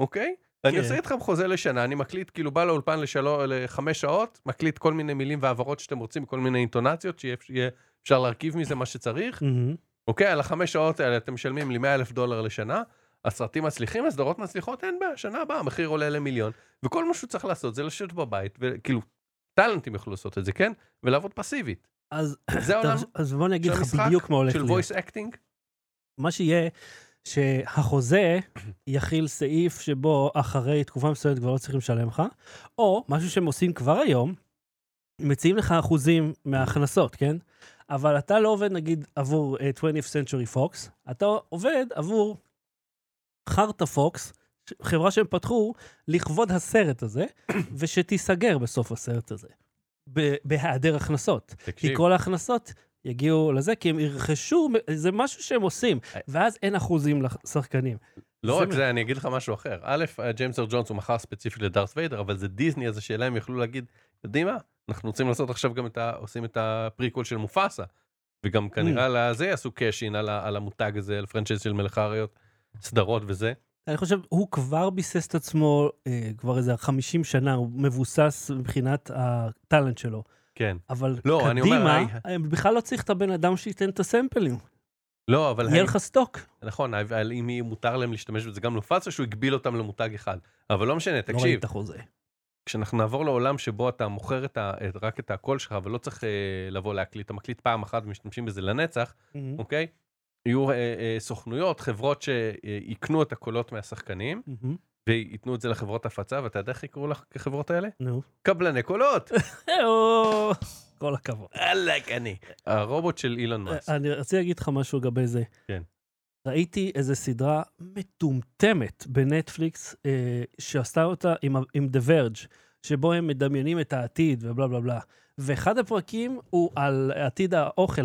[SPEAKER 2] אוקיי? אני
[SPEAKER 1] כן.
[SPEAKER 2] עושה איתך חוזה לשנה, אני מקליט, כאילו בא לאולפן לשלו- לחמש שעות, מקליט כל מיני מילים והבהרות שאתם רוצים, כל מיני אינטונציות, שיהיה אפ- יהיה אפשר להרכיב מזה מה שצריך.
[SPEAKER 1] מהמם.
[SPEAKER 2] אוקיי, על החמש שעות האלה אתם משלמים לי 100 אלף דולר לשנה, הסרטים מצליחים, הסדרות מצליחות, אין בעיה, שנה הבאה המחיר עולה למיליון, וכל מה שהוא צריך לעשות זה לשבת בבית, וכאילו, טאלנטים יוכלו לעשות את זה, כן? ולעבוד פסיבית.
[SPEAKER 1] אז-
[SPEAKER 2] זה העולם
[SPEAKER 1] אז- אז בוא אני אגיד
[SPEAKER 2] של
[SPEAKER 1] לך
[SPEAKER 2] המשחק,
[SPEAKER 1] בדיוק מה הולך
[SPEAKER 2] של
[SPEAKER 1] להיות.
[SPEAKER 2] voice acting.
[SPEAKER 1] מה שיהיה, שהחוזה יכיל סעיף שבו אחרי תקופה מסוימת כבר לא צריכים לשלם לך, או משהו שהם עושים כבר היום, מציעים לך אחוזים מההכנסות, כן? אבל אתה לא עובד נגיד עבור uh, 20th Century Fox, אתה עובד עבור חרטה פוקס, ש- חברה שהם פתחו לכבוד הסרט הזה, ושתיסגר בסוף הסרט הזה, ב- בהיעדר הכנסות. כי כל ההכנסות יגיעו לזה, כי הם ירכשו, זה משהו שהם עושים,
[SPEAKER 2] אה.
[SPEAKER 1] ואז אין אחוזים לשחקנים.
[SPEAKER 2] לא
[SPEAKER 1] זה
[SPEAKER 2] רק
[SPEAKER 1] מה-
[SPEAKER 2] זה, אני אגיד לך משהו אחר. א', ג'יימס אר ג'ונס הוא מכר ספציפית לדארת' ויידר, אבל זה דיסני, אז השאלה אם יוכלו להגיד, יודעים מה, אנחנו רוצים לעשות עכשיו גם את ה... עושים את הפריקול של מופסה.
[SPEAKER 1] Mm.
[SPEAKER 2] וגם כנראה על הזה יעשו קאשין על ה- על המותג הזה, על פרנצ'ייז של מלך האריות, סדרות וזה.
[SPEAKER 1] אני חושב, הוא כבר ביסס את עצמו אה, כבר איזה 50 שנה, הוא מבוסס מבחינת הטאלנט שלו.
[SPEAKER 2] כן.
[SPEAKER 1] אבל
[SPEAKER 2] לא, אני אומר,
[SPEAKER 1] קדימה,
[SPEAKER 2] היי-
[SPEAKER 1] הם בכלל לא צריך את הבן אדם שייתן את הסמפלים.
[SPEAKER 2] לא, אבל...
[SPEAKER 1] יהיה
[SPEAKER 2] האם-
[SPEAKER 1] לך סטוק.
[SPEAKER 2] נכון, אבל אם יהיה מותר להם להשתמש בזה גם למופסה, שהוא הגביל אותם למותג אחד. אבל לא משנה,
[SPEAKER 1] לא ראיתי
[SPEAKER 2] תקשיב,
[SPEAKER 1] את החוזה.
[SPEAKER 2] כשאנחנו נעבור לעולם שבו אתה מוכר את ה- את- רק את הקול שלך, ולא צריך אה, לבוא להקליט, אתה מקליט פעם אחת ומשתמשים בזה לנצח,
[SPEAKER 1] מהמם,
[SPEAKER 2] אוקיי? יהיו אה, אה, סוכנויות, חברות שיקנו את הקולות מהשחקנים,
[SPEAKER 1] מהמם,
[SPEAKER 2] וייתנו את זה לחברות הפצה, ואתה יודע איך יקראו לך לחברות האלה?
[SPEAKER 1] נו.
[SPEAKER 2] קבלני קולות!
[SPEAKER 1] היי-או, כל הכבוד. אה,
[SPEAKER 2] אלק אני. הרובוט של אילון מאסק.
[SPEAKER 1] אני רציתי להגיד לך משהו לגבי זה.
[SPEAKER 2] כן.
[SPEAKER 1] ראיתי איזו סדרה מטומטמת בנטפליקס, אה, שעשתה אותה עם, ה- עם The Verge, שבו הם מדמיינים את העתיד ובלה בלה בלה. ואחד הפרקים הוא על עתיד האוכל,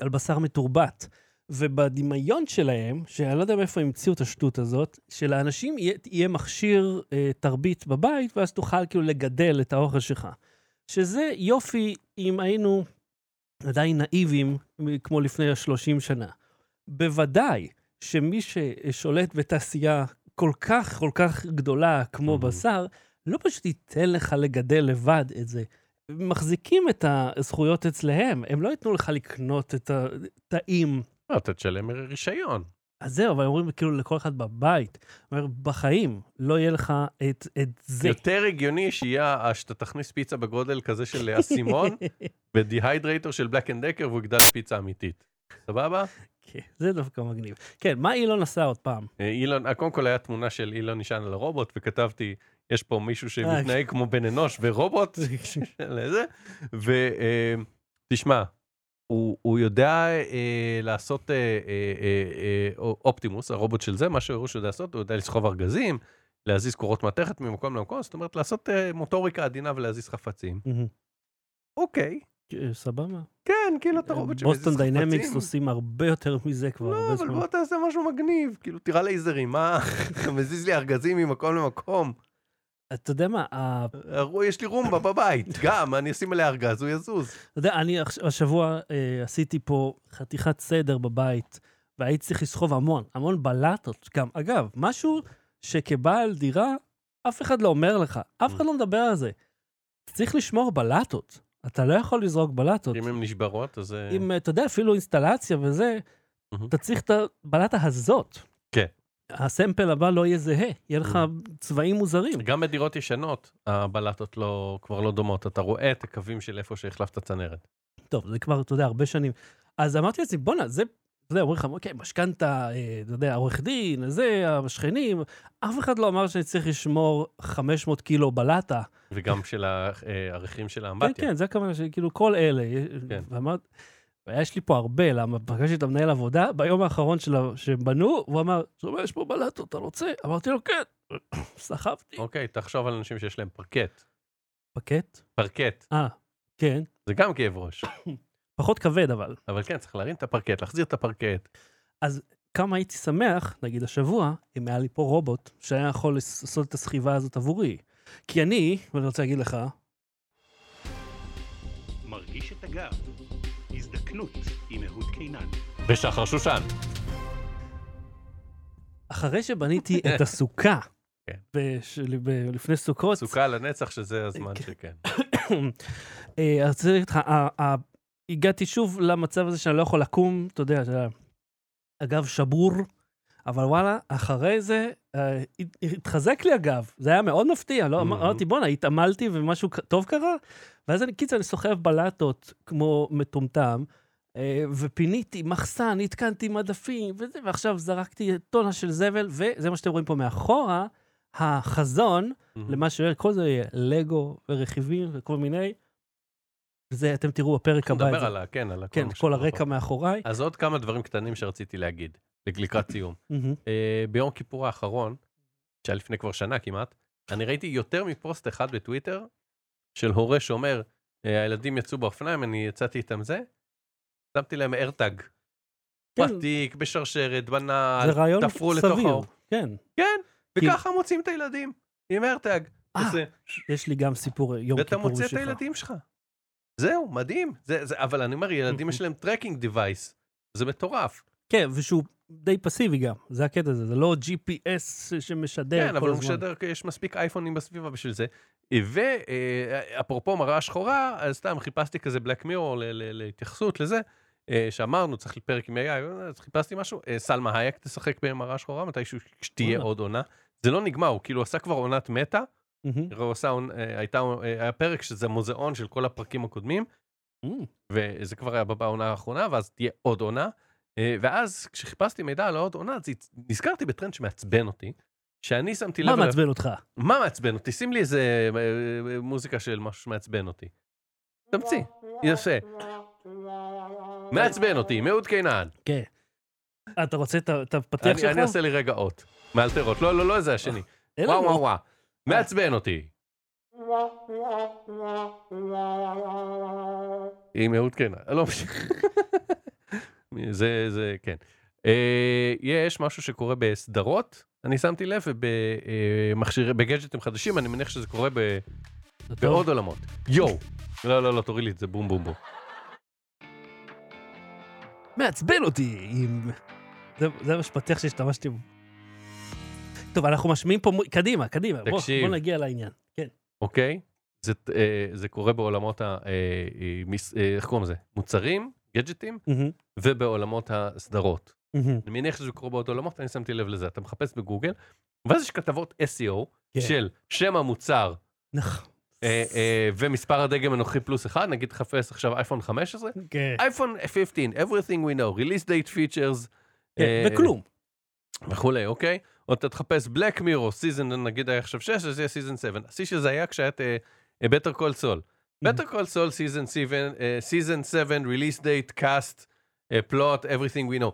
[SPEAKER 1] על בשר מתורבת. ובדמיון שלהם, שאני לא יודע מאיפה הם המציאו את השטות הזאת, שלאנשים יהיה, יהיה מכשיר אה, תרבית בבית, ואז תוכל כאילו לגדל את האוכל שלך. שזה יופי אם היינו עדיין נאיבים מ- כמו לפני 30 שנה. בוודאי שמי ששולט בתעשייה כל כך כל כך גדולה כמו
[SPEAKER 2] Mhm.
[SPEAKER 1] בשר, לא פשוט ייתן לך לגדל לבד את זה. מחזיקים את הזכויות אצלהם, הם לא ייתנו לך לקנות את התאים.
[SPEAKER 2] לא, אתה תשלם רישיון.
[SPEAKER 1] אז זהו, אבל אומרים כאילו לכל אחד בבית. אומר, בחיים לא יהיה לך את, את זה.
[SPEAKER 2] יותר הגיוני שיהיה אה, שאתה תכניס פיצה בגודל כזה של אה, אסימון בדיהיידרייטור של בלק אנד דקר והוא יגדל פיצה אמיתית. סבבה?
[SPEAKER 1] כן, זה דווקא מגניב. כן, מה אילון עשה עוד פעם?
[SPEAKER 2] אה, אילון, אה, קודם כל היה תמונה של אילון נשען על הרובוט, וכתבתי, יש פה
[SPEAKER 1] אה, כן.
[SPEAKER 2] מישהו שמתנהג כמו בן אנוש ורובוט, לזה, ותשמע, הוא, הוא יודע אה, לעשות אה, אה, אה, אה, אופטימוס, הרובוט של זה, מה שהוא יודע לעשות, הוא יודע לסחוב ארגזים, להזיז קורות מתכת ממקום למקום, זאת אומרת, לעשות אה, מוטוריקה עדינה ולהזיז חפצים.
[SPEAKER 1] מהמם.
[SPEAKER 2] אוקיי,
[SPEAKER 1] כן, סבבה.
[SPEAKER 2] כן, כאילו אתה רובוט שמזיז
[SPEAKER 1] בוסטון
[SPEAKER 2] חפצים.
[SPEAKER 1] דיינמיקס עושים הרבה יותר מזה כבר
[SPEAKER 2] לא,
[SPEAKER 1] הרבה
[SPEAKER 2] אבל
[SPEAKER 1] זמן.
[SPEAKER 2] בוא תעשה משהו מגניב, כאילו, תראה לייזרים, מה, אתה מזיז לי ארגזים ממקום למקום.
[SPEAKER 1] אתה יודע מה,
[SPEAKER 2] אה.
[SPEAKER 1] ה-
[SPEAKER 2] הרו- יש לי רומבה בבית, גם, אני אשים עליה ארגז, הוא יזוז.
[SPEAKER 1] אתה יודע, אני עכש- השבוע אה, עשיתי פה חתיכת סדר בבית, והייתי צריך לסחוב המון, המון בלטות גם. אגב, משהו שכבעל דירה, אף אחד לא אומר לך, אף אחד לא מדבר על זה. צריך לשמור בלטות. אתה לא יכול לזרוק בלטות.
[SPEAKER 2] אם הן נשברות, אז... אה,
[SPEAKER 1] אם, אתה יודע, אפילו אינסטלציה וזה,
[SPEAKER 2] מהמם.
[SPEAKER 1] אתה צריך את הבלטה הזאת.
[SPEAKER 2] כן.
[SPEAKER 1] הסמפל הבא לא יהיה זהה, יהיה לך צבעים מוזרים.
[SPEAKER 2] גם בדירות ישנות, הבלטות לא- כבר לא דומות, אתה רואה את הקווים של איפה שהחלפת צנרת.
[SPEAKER 1] טוב, זה כבר, אתה יודע, הרבה שנים. אז אמרתי לעצמי, בואנה, זה, אתה יודע, אומרים לך, אוקיי, משכנתה, אה, אתה יודע, עורך דין, זה, השכנים, אף אחד לא אמר שאני צריך לשמור 500 קילו בלטה.
[SPEAKER 2] וגם של הערכים של
[SPEAKER 1] כן,
[SPEAKER 2] האמבטיה.
[SPEAKER 1] כן, זה הכוונה שלי, כאילו, כל אלה.
[SPEAKER 2] כן.
[SPEAKER 1] ואמרתי, יש לי פה הרבה, למה פגשתי את המנהל עבודה, ביום האחרון שלה- שהם בנו, הוא אמר, שומע, יש פה בלטות, אתה רוצה? אמרתי לו, כן. סחבתי.
[SPEAKER 2] אוקיי, תחשוב על אנשים שיש להם פרקט.
[SPEAKER 1] פקט?
[SPEAKER 2] פרקט,
[SPEAKER 1] אה, כן.
[SPEAKER 2] זה גם כאב ראש.
[SPEAKER 1] פחות כבד, אבל.
[SPEAKER 2] אבל כן, צריך להרים את הפרקט, להחזיר את הפרקט.
[SPEAKER 1] כמה הייתי שמח, נגיד השבוע, אם היה לי פה רובוט שהיה יכול לעשות את הסחיבה הזאת עבורי. כי אני, ואני רוצה להגיד לך,
[SPEAKER 4] מרגיש את הגב. הזדקנות עם אהוד קינן.
[SPEAKER 2] ושחר שושן.
[SPEAKER 1] אחרי שבניתי את הסוכה,
[SPEAKER 2] כן.
[SPEAKER 1] בש... ב... לפני סוכות,
[SPEAKER 2] סוכה לנצח שזה הזמן
[SPEAKER 1] כן.
[SPEAKER 2] שכן.
[SPEAKER 1] אה, אז צריך אותך, ה- ה- הגעתי שוב למצב הזה שאני לא יכול לקום, אתה יודע, אתה- הגב שבור, אבל וואלה, אחרי זה, אה, הת- התחזק לי הגב, זה היה מאוד מפתיע, לא,
[SPEAKER 2] מהמם.
[SPEAKER 1] אמרתי, בואנה, התעמלתי ומשהו ק- טוב קרה? ואז אני, קיצר, אני סוחב בלטות כמו מטומטם, אה, ופיניתי מחסן, התקנתי מדפים, וזה, ועכשיו זרקתי טונה של זבל, וזה מה שאתם רואים פה מאחורה, החזון
[SPEAKER 2] Mm-hmm.
[SPEAKER 1] למה שאומר, כל זה יהיה לגו ורכיבים וכל מיני. זה, אתם תראו בפרק הבא. את
[SPEAKER 2] נדבר
[SPEAKER 1] זה.
[SPEAKER 2] על ה... כן, על הכל
[SPEAKER 1] כן,
[SPEAKER 2] מה
[SPEAKER 1] כל
[SPEAKER 2] שקורה
[SPEAKER 1] הרקע
[SPEAKER 2] פה.
[SPEAKER 1] מאחוריי.
[SPEAKER 2] אז עוד כמה דברים קטנים שרציתי להגיד, לקראת סיום.
[SPEAKER 1] מהמם.
[SPEAKER 2] אה, ביום כיפור האחרון, שהיה לפני כבר שנה כמעט, אני ראיתי יותר מפוסט אחד בטוויטר של הורה שאומר, אה, הילדים יצאו באופניים, אני יצאתי איתם זה, שמתי להם ארטג.
[SPEAKER 1] כן.
[SPEAKER 2] בתיק, בשרשרת, בנעל,
[SPEAKER 1] זה רעיון
[SPEAKER 2] תפרו לתוך
[SPEAKER 1] סביר.
[SPEAKER 2] האור.
[SPEAKER 1] כן.
[SPEAKER 2] כן,
[SPEAKER 1] כי-
[SPEAKER 2] וככה מוצאים את הילדים, עם ארטג.
[SPEAKER 1] כאילו- אה,
[SPEAKER 2] וזה-
[SPEAKER 1] יש לי גם סיפור אה, יום
[SPEAKER 2] ואתה
[SPEAKER 1] כיפור
[SPEAKER 2] מוצא את
[SPEAKER 1] שלך.
[SPEAKER 2] הילדים שלך. זהו, מדהים. זה- זה- אבל אני אומר, ילדים יש להם טרקינג דיווייס. זה מטורף.
[SPEAKER 1] כן, ושהוא די פסיבי גם, זה הקטע הזה, זה לא GPS שמשדר כל הזמן.
[SPEAKER 2] כן, אבל הוא משדר, יש מספיק אייפונים בסביבה בשביל זה. ואפרופו מראה שחורה, אז סתם חיפשתי כזה בלק מירור להתייחסות לזה, אה, שאמרנו, צריך פרק עם AI, אז חיפשתי משהו, אה, סלמה הייק תשחק במראה שחורה מתישהו כשתהיה
[SPEAKER 1] וואלה.
[SPEAKER 2] עוד עונה. זה לא נגמר, הוא כאילו עשה כבר עונת מטה,
[SPEAKER 1] מהמם.
[SPEAKER 2] הוא עשה, עונ- אה, הייתה, אה, היה פרק שזה מוזיאון של כל הפרקים הקודמים,
[SPEAKER 1] מהמם.
[SPEAKER 2] וזה כבר היה בעונה האחרונה, ואז תהיה עוד עונה. אה, ואז כשחיפשתי מידע על העוד עונה, אז הצ- נזכרתי בטרנד שמעצבן אותי, שאני שמתי לב...
[SPEAKER 1] מה
[SPEAKER 2] אליו-
[SPEAKER 1] מעצבן אותך?
[SPEAKER 2] מה מעצבן אותי? שים לי איזה אה, אה, מוזיקה של משהו שמעצבן אותי. תמציא, יפה. מעצבן אותי, מאוד קינן.
[SPEAKER 1] כן. אה, אתה רוצה את ה- את הפתיח
[SPEAKER 2] אני
[SPEAKER 1] שלך?
[SPEAKER 2] אני אעשה לי רגע אות. מאלתרות. לא, לא, לא זה השני.
[SPEAKER 1] אין
[SPEAKER 2] וואו,
[SPEAKER 1] לנו.
[SPEAKER 2] וואו, וואו. מעצבן אותי. עם אהוד קנה. לא משנה. זה, זה, כן. אה, יש משהו שקורה בסדרות, אני שמתי לב, ובמכשירי, בגדג'טים חדשים, אני מניח שזה קורה ב...
[SPEAKER 1] זה טוב.
[SPEAKER 2] בעוד עולמות. יואו. לא, לא, לא, תוריד לי את זה, בום, בום, בום.
[SPEAKER 1] מעצבן אותי עם... זה, זה מה שפתח שהשתמשתי בו. טוב, אנחנו משמיעים פה... מ- קדימה, קדימה. בוא,
[SPEAKER 2] תקשיב.
[SPEAKER 1] בוא נגיע לעניין. כן.
[SPEAKER 2] אוקיי? זה, אה, זה קורה בעולמות ה... אה, אה, מס- אה, איך קוראים לזה? מוצרים, גדג'טים,
[SPEAKER 1] מהמם,
[SPEAKER 2] ובעולמות הסדרות.
[SPEAKER 1] מהמם.
[SPEAKER 2] אני מניח שזה קורה בעוד עולמות, אני שמתי לב לזה. אתה מחפש בגוגל, ואז יש כתבות SEO
[SPEAKER 1] כן.
[SPEAKER 2] של שם המוצר
[SPEAKER 1] נכון.
[SPEAKER 2] אה, אה, ומספר הדגם הנוכחי פלוס אחד, נגיד תחפש עכשיו אייפון 15,
[SPEAKER 1] כן.
[SPEAKER 2] אייפון 15, everything we know, release date features.
[SPEAKER 1] כן,
[SPEAKER 2] אה,
[SPEAKER 1] וכלום.
[SPEAKER 2] וכולי, אוקיי? או אתה תחפש Black Mirror, סיזן, נגיד היה עכשיו 6, אז יהיה סיזן 7. השיא של זה היה אה, כשהיה את בטר קול סול. בטר קול סול, סיזן 7, סיזן 7, אה, release date, cast, אה, plot, everything we know.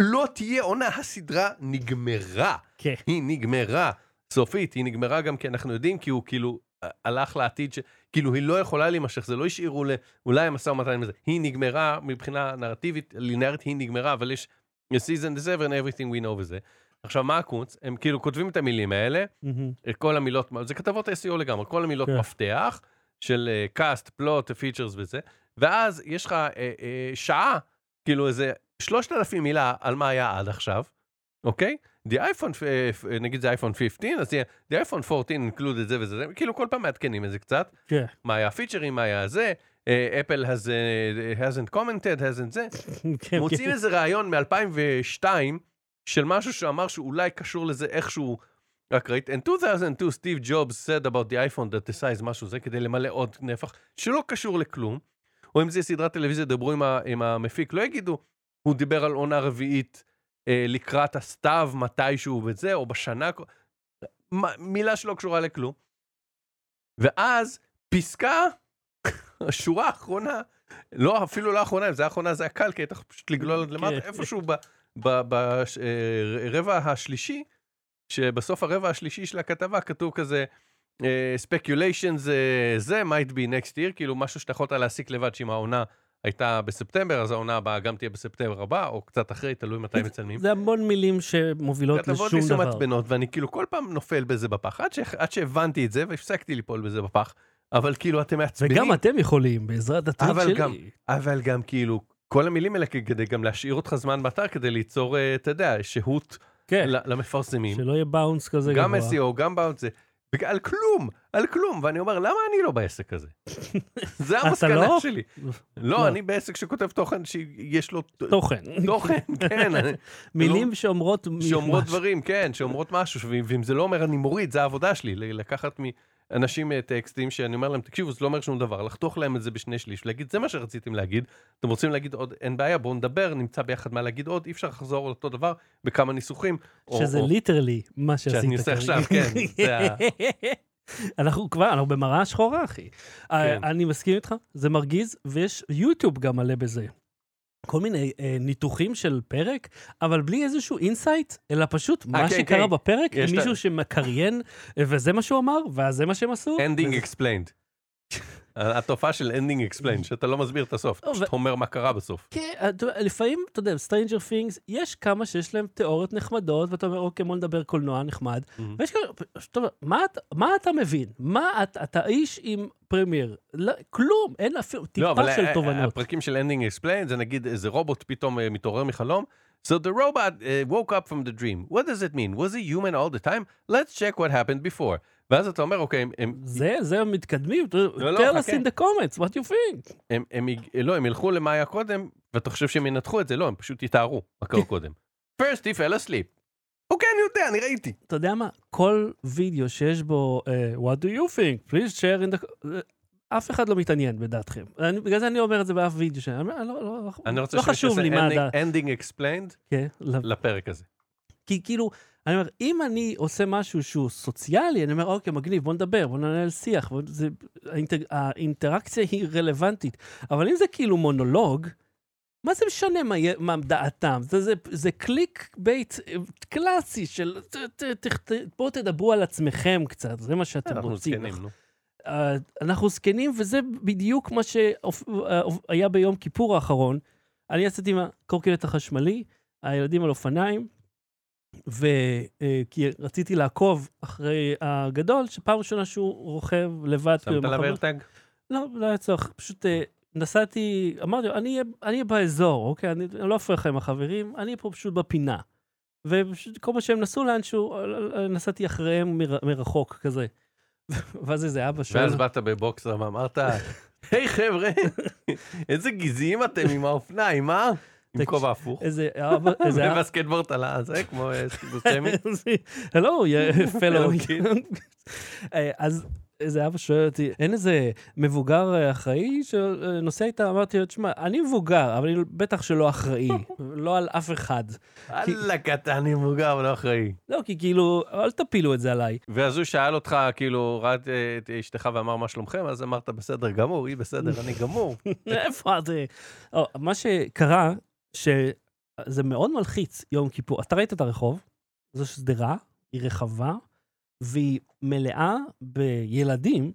[SPEAKER 2] לא תהיה עונה, הסדרה נגמרה.
[SPEAKER 1] כן.
[SPEAKER 2] היא נגמרה. סופית, היא נגמרה גם כי אנחנו יודעים, כי הוא כאילו אה, הלך לעתיד, ש... כאילו היא לא יכולה להימשך, זה לא השאירו ל... אולי המשא ומתן הזה. היא נגמרה מבחינה נרטיבית, לינארית היא נגמרה, אבל יש season 7 and everything we know וזה. עכשיו, מה הקונץ? הם כאילו כותבים את המילים האלה,
[SPEAKER 1] מהמם.
[SPEAKER 2] את כל המילות, זה כתבות SEO לגמרי, כל המילות
[SPEAKER 1] כן.
[SPEAKER 2] מפתח של uh, cast, plot, features וזה, ואז יש לך uh, uh, שעה, כאילו איזה 3,000 מילה על מה היה עד עכשיו, אוקיי? The iPhone, uh, נגיד זה iPhone 15, אז יהיה The iPhone 14 include את זה וזה, זה, כאילו כל פעם מעדכנים את זה קצת,
[SPEAKER 1] כן.
[SPEAKER 2] מה היה הפיצ'רים, מה היה זה, אפל uh, Apple has, uh, hasn't commented, hasn't זה,
[SPEAKER 1] כן,
[SPEAKER 2] מוצאים
[SPEAKER 1] כן.
[SPEAKER 2] איזה ראיון מ-2002 של משהו שאמר שאולי קשור לזה איכשהו. רק ראית, in 2002 Steve Jobs said about the iPhone that the size משהו זה כדי למלא עוד נפח שלא קשור לכלום. או אם זה סדרת טלוויזיה, דברו עם, ה, עם המפיק, לא יגידו, הוא דיבר על עונה רביעית אה, לקראת הסתיו, מתישהו וזה, או בשנה, הקר- מ- מילה שלא קשורה לכלום. ואז פסקה, השורה האחרונה, לא, אפילו לא האחרונה, אם זה היה האחרונה זה היה קל, כי היית יכול פשוט לגלול עד למטה,
[SPEAKER 1] כן.
[SPEAKER 2] איפשהו ברבע אה, השלישי, שבסוף הרבע השלישי של הכתבה כתוב כזה, ספקיוליישן זה זה, might be next year, כאילו משהו שאתה יכולת להסיק לבד שאם העונה הייתה בספטמבר, אז העונה הבאה גם תהיה בספטמבר הבא, או קצת אחרי, תלוי מתי מצלמים.
[SPEAKER 1] זה המון מילים שמובילות
[SPEAKER 2] כתבות לי
[SPEAKER 1] לא לשום דבר.
[SPEAKER 2] מעצבנות, ואני כאילו כל פעם נופל בזה בפח, עד, ש... עד שהבנתי את זה והפסקתי ליפול בזה בפח, אבל כאילו אתם מעצבנים,
[SPEAKER 1] וגם אתם יכולים, בעזרת הטריק
[SPEAKER 2] אבל
[SPEAKER 1] שלי.
[SPEAKER 2] גם- אבל גם כאילו, כל המילים האלה כדי גם להשאיר אותך זמן באתר, כדי ליצור, אה, אתה יודע, שהות
[SPEAKER 1] כן,
[SPEAKER 2] ל- למפרסמים.
[SPEAKER 1] שלא יהיה באונס כזה גבוה.
[SPEAKER 2] גם SEO, גם בעוד זה, על כלום, על כלום, ואני אומר, למה אני לא בעסק הזה? זה
[SPEAKER 1] אתה
[SPEAKER 2] המסקנה
[SPEAKER 1] לא?
[SPEAKER 2] שלי.
[SPEAKER 1] לא.
[SPEAKER 2] לא, אני בעסק שכותב תוכן שיש לו ת-
[SPEAKER 1] תוכן.
[SPEAKER 2] תוכן, כן, אני-
[SPEAKER 1] מילים שאומרות... מ-
[SPEAKER 2] שאומרות
[SPEAKER 1] משהו.
[SPEAKER 2] דברים, כן, שאומרות משהו, ואם ואם זה לא אומר אני מוריד, זה העבודה שלי, ל- לקחת מאנשים אה, טקסטים שאני אומר להם, תקשיבו, זה לא אומר שום דבר, לחתוך להם את זה בשני שליש, ולהגיד, זה מה שרציתם להגיד, אתם רוצים להגיד עוד, אין בעיה, בואו נדבר, נמצא ביחד מה להגיד עוד, אי אפשר לחזור על אותו דבר בכמה ניסוחים. או-
[SPEAKER 1] שזה
[SPEAKER 2] או-
[SPEAKER 1] ליטרלי מה שעשית.
[SPEAKER 2] שאני עושה
[SPEAKER 1] כרגע.
[SPEAKER 2] עכשיו, כן, זה ה-
[SPEAKER 1] אנחנו כבר, אנחנו במראה השחורה, אחי.
[SPEAKER 2] כן.
[SPEAKER 1] אה, אני מסכים איתך, זה מרגיז, ויש יוטיוב גם מלא בזה. כל מיני אה, ניתוחים של פרק, אבל בלי איזשהו אינסייט, אלא פשוט מה
[SPEAKER 2] כן,
[SPEAKER 1] שקרה
[SPEAKER 2] כן.
[SPEAKER 1] בפרק,
[SPEAKER 2] יש לה-
[SPEAKER 1] מישהו שמקריין, אה, וזה מה שהוא אמר, ואז זה מה שהם עשו.
[SPEAKER 2] ending explained. התופעה של ending explained, שאתה לא מסביר את הסוף, אתה
[SPEAKER 1] לא, ו-
[SPEAKER 2] פשוט אומר מה קרה בסוף.
[SPEAKER 1] כן, אתה יודע, לפעמים, אתה יודע, Stranger Things, יש כמה שיש להם תיאוריות נחמדות, ואתה אומר, אוקיי, בוא נדבר קולנוע נחמד, ויש כאלה, שאתה אומר, "מה אתה- מה אתה מבין? מה אתה, אתה איש עם פרמייר? לא, כלום, אין אפילו
[SPEAKER 2] לא, אבל
[SPEAKER 1] טיפה של
[SPEAKER 2] ה- ה-
[SPEAKER 1] תובנות.
[SPEAKER 2] הפרקים של ending explained זה נגיד איזה רובוט פתאום אה, מתעורר מחלום. So the robot uh, woke up from the dream. What does it mean? Was he human all the time? Let's check what happened before. ואז אתה אומר, אוקיי, הם, הם,
[SPEAKER 1] זה, זה הם מתקדמים, אתה יודע,
[SPEAKER 2] לא,
[SPEAKER 1] tell us
[SPEAKER 2] חכה.
[SPEAKER 1] in the comments, what you think.
[SPEAKER 2] הם, הם, יג- לא, הם ילכו למה היה קודם, ואתה חושב שהם ינתחו את זה? לא, הם פשוט יתארו מה
[SPEAKER 1] כן.
[SPEAKER 2] קרה קודם. First he fell asleep. אוקיי, אני יודע, אני ראיתי.
[SPEAKER 1] אתה יודע מה, כל וידאו שיש בו, אה, what do you think, please share in the... אה, אף אחד לא מתעניין בדעתכם. אני- בגלל זה אני לא אומר את זה באף וידאו שאני אומר, לא, לא,
[SPEAKER 2] אני רוצה
[SPEAKER 1] לא חשוב לי מה הדעת.
[SPEAKER 2] ending, ending explained
[SPEAKER 1] כן, לא-
[SPEAKER 2] לפרק הזה.
[SPEAKER 1] כי כאילו, אני אומר, אם אני עושה משהו שהוא סוציאלי, אני אומר, אוקיי, מגניב, בוא נדבר, בוא ננהל שיח, בוא, זה, האינטר, האינטראקציה היא רלוונטית. אבל אם זה כאילו מונולוג, מה זה משנה מה, יהיה- מה דעתם? זה, זה, זה קליק בייט אה, קלאסי של ת, ת, ת, ת, בואו תדברו על עצמכם קצת, זה מה שאתם
[SPEAKER 2] אנחנו
[SPEAKER 1] רוצים.
[SPEAKER 2] זקנים, נו.
[SPEAKER 1] אה, אנחנו זקנים, וזה בדיוק מה שהיה ביום כיפור האחרון. אני יצאתי עם הקורקינט החשמלי, הילדים על אופניים, וכי רציתי לעקוב אחרי הגדול, שפעם ראשונה שהוא רוכב לבד.
[SPEAKER 2] שמת
[SPEAKER 1] במחבר-
[SPEAKER 2] עליו איירטג?
[SPEAKER 1] לא, לא היה צורך. פשוט אה, נסעתי, אמרתי, לו, אני אהיה- אני אהיה באזור, אוקיי? אני אני לא אפריע לך עם החברים, אני פה פשוט בפינה. ופשוט כל מה שהם נסעו לאנשהו, אה, אה, נסעתי אחריהם מר- מרחוק כזה. ואז איזה אבא שואל...
[SPEAKER 2] ואז באת בבוקסר ואמרת, היי חבר'ה, איזה גזעיים אתם עם האופניים, אה? עם
[SPEAKER 1] תקשיב,
[SPEAKER 2] כובע הפוך.
[SPEAKER 1] איזה אבא, איזה אבא,
[SPEAKER 2] ובסקטבורט על הזה, כמו אה, סטיבוסטמי.
[SPEAKER 1] הלו, פלו.
[SPEAKER 2] Hello, kid.
[SPEAKER 1] אה, אז איזה אבא שואל אותי, אין איזה מבוגר אה, אחראי שנוסע איתה? אמרתי לו, תשמע, אני מבוגר, אבל אני בטח שלא אחראי, לא על אף אחד.
[SPEAKER 2] וואלה, קטן, אני מבוגר, אבל לא אחראי.
[SPEAKER 1] לא, כי כאילו, אל תפילו את זה עליי.
[SPEAKER 2] ואז הוא שאל אותך, כאילו, ראת אה, את אשתך ואמר, מה שלומכם? אז אמרת, בסדר גמור, היא בסדר, אני גמור.
[SPEAKER 1] איפה את? אה? או, מה שקרה, שזה מאוד מלחיץ, יום כיפור. אתה ראית את הרחוב, זו שדרה, היא רחבה, והיא מלאה בילדים,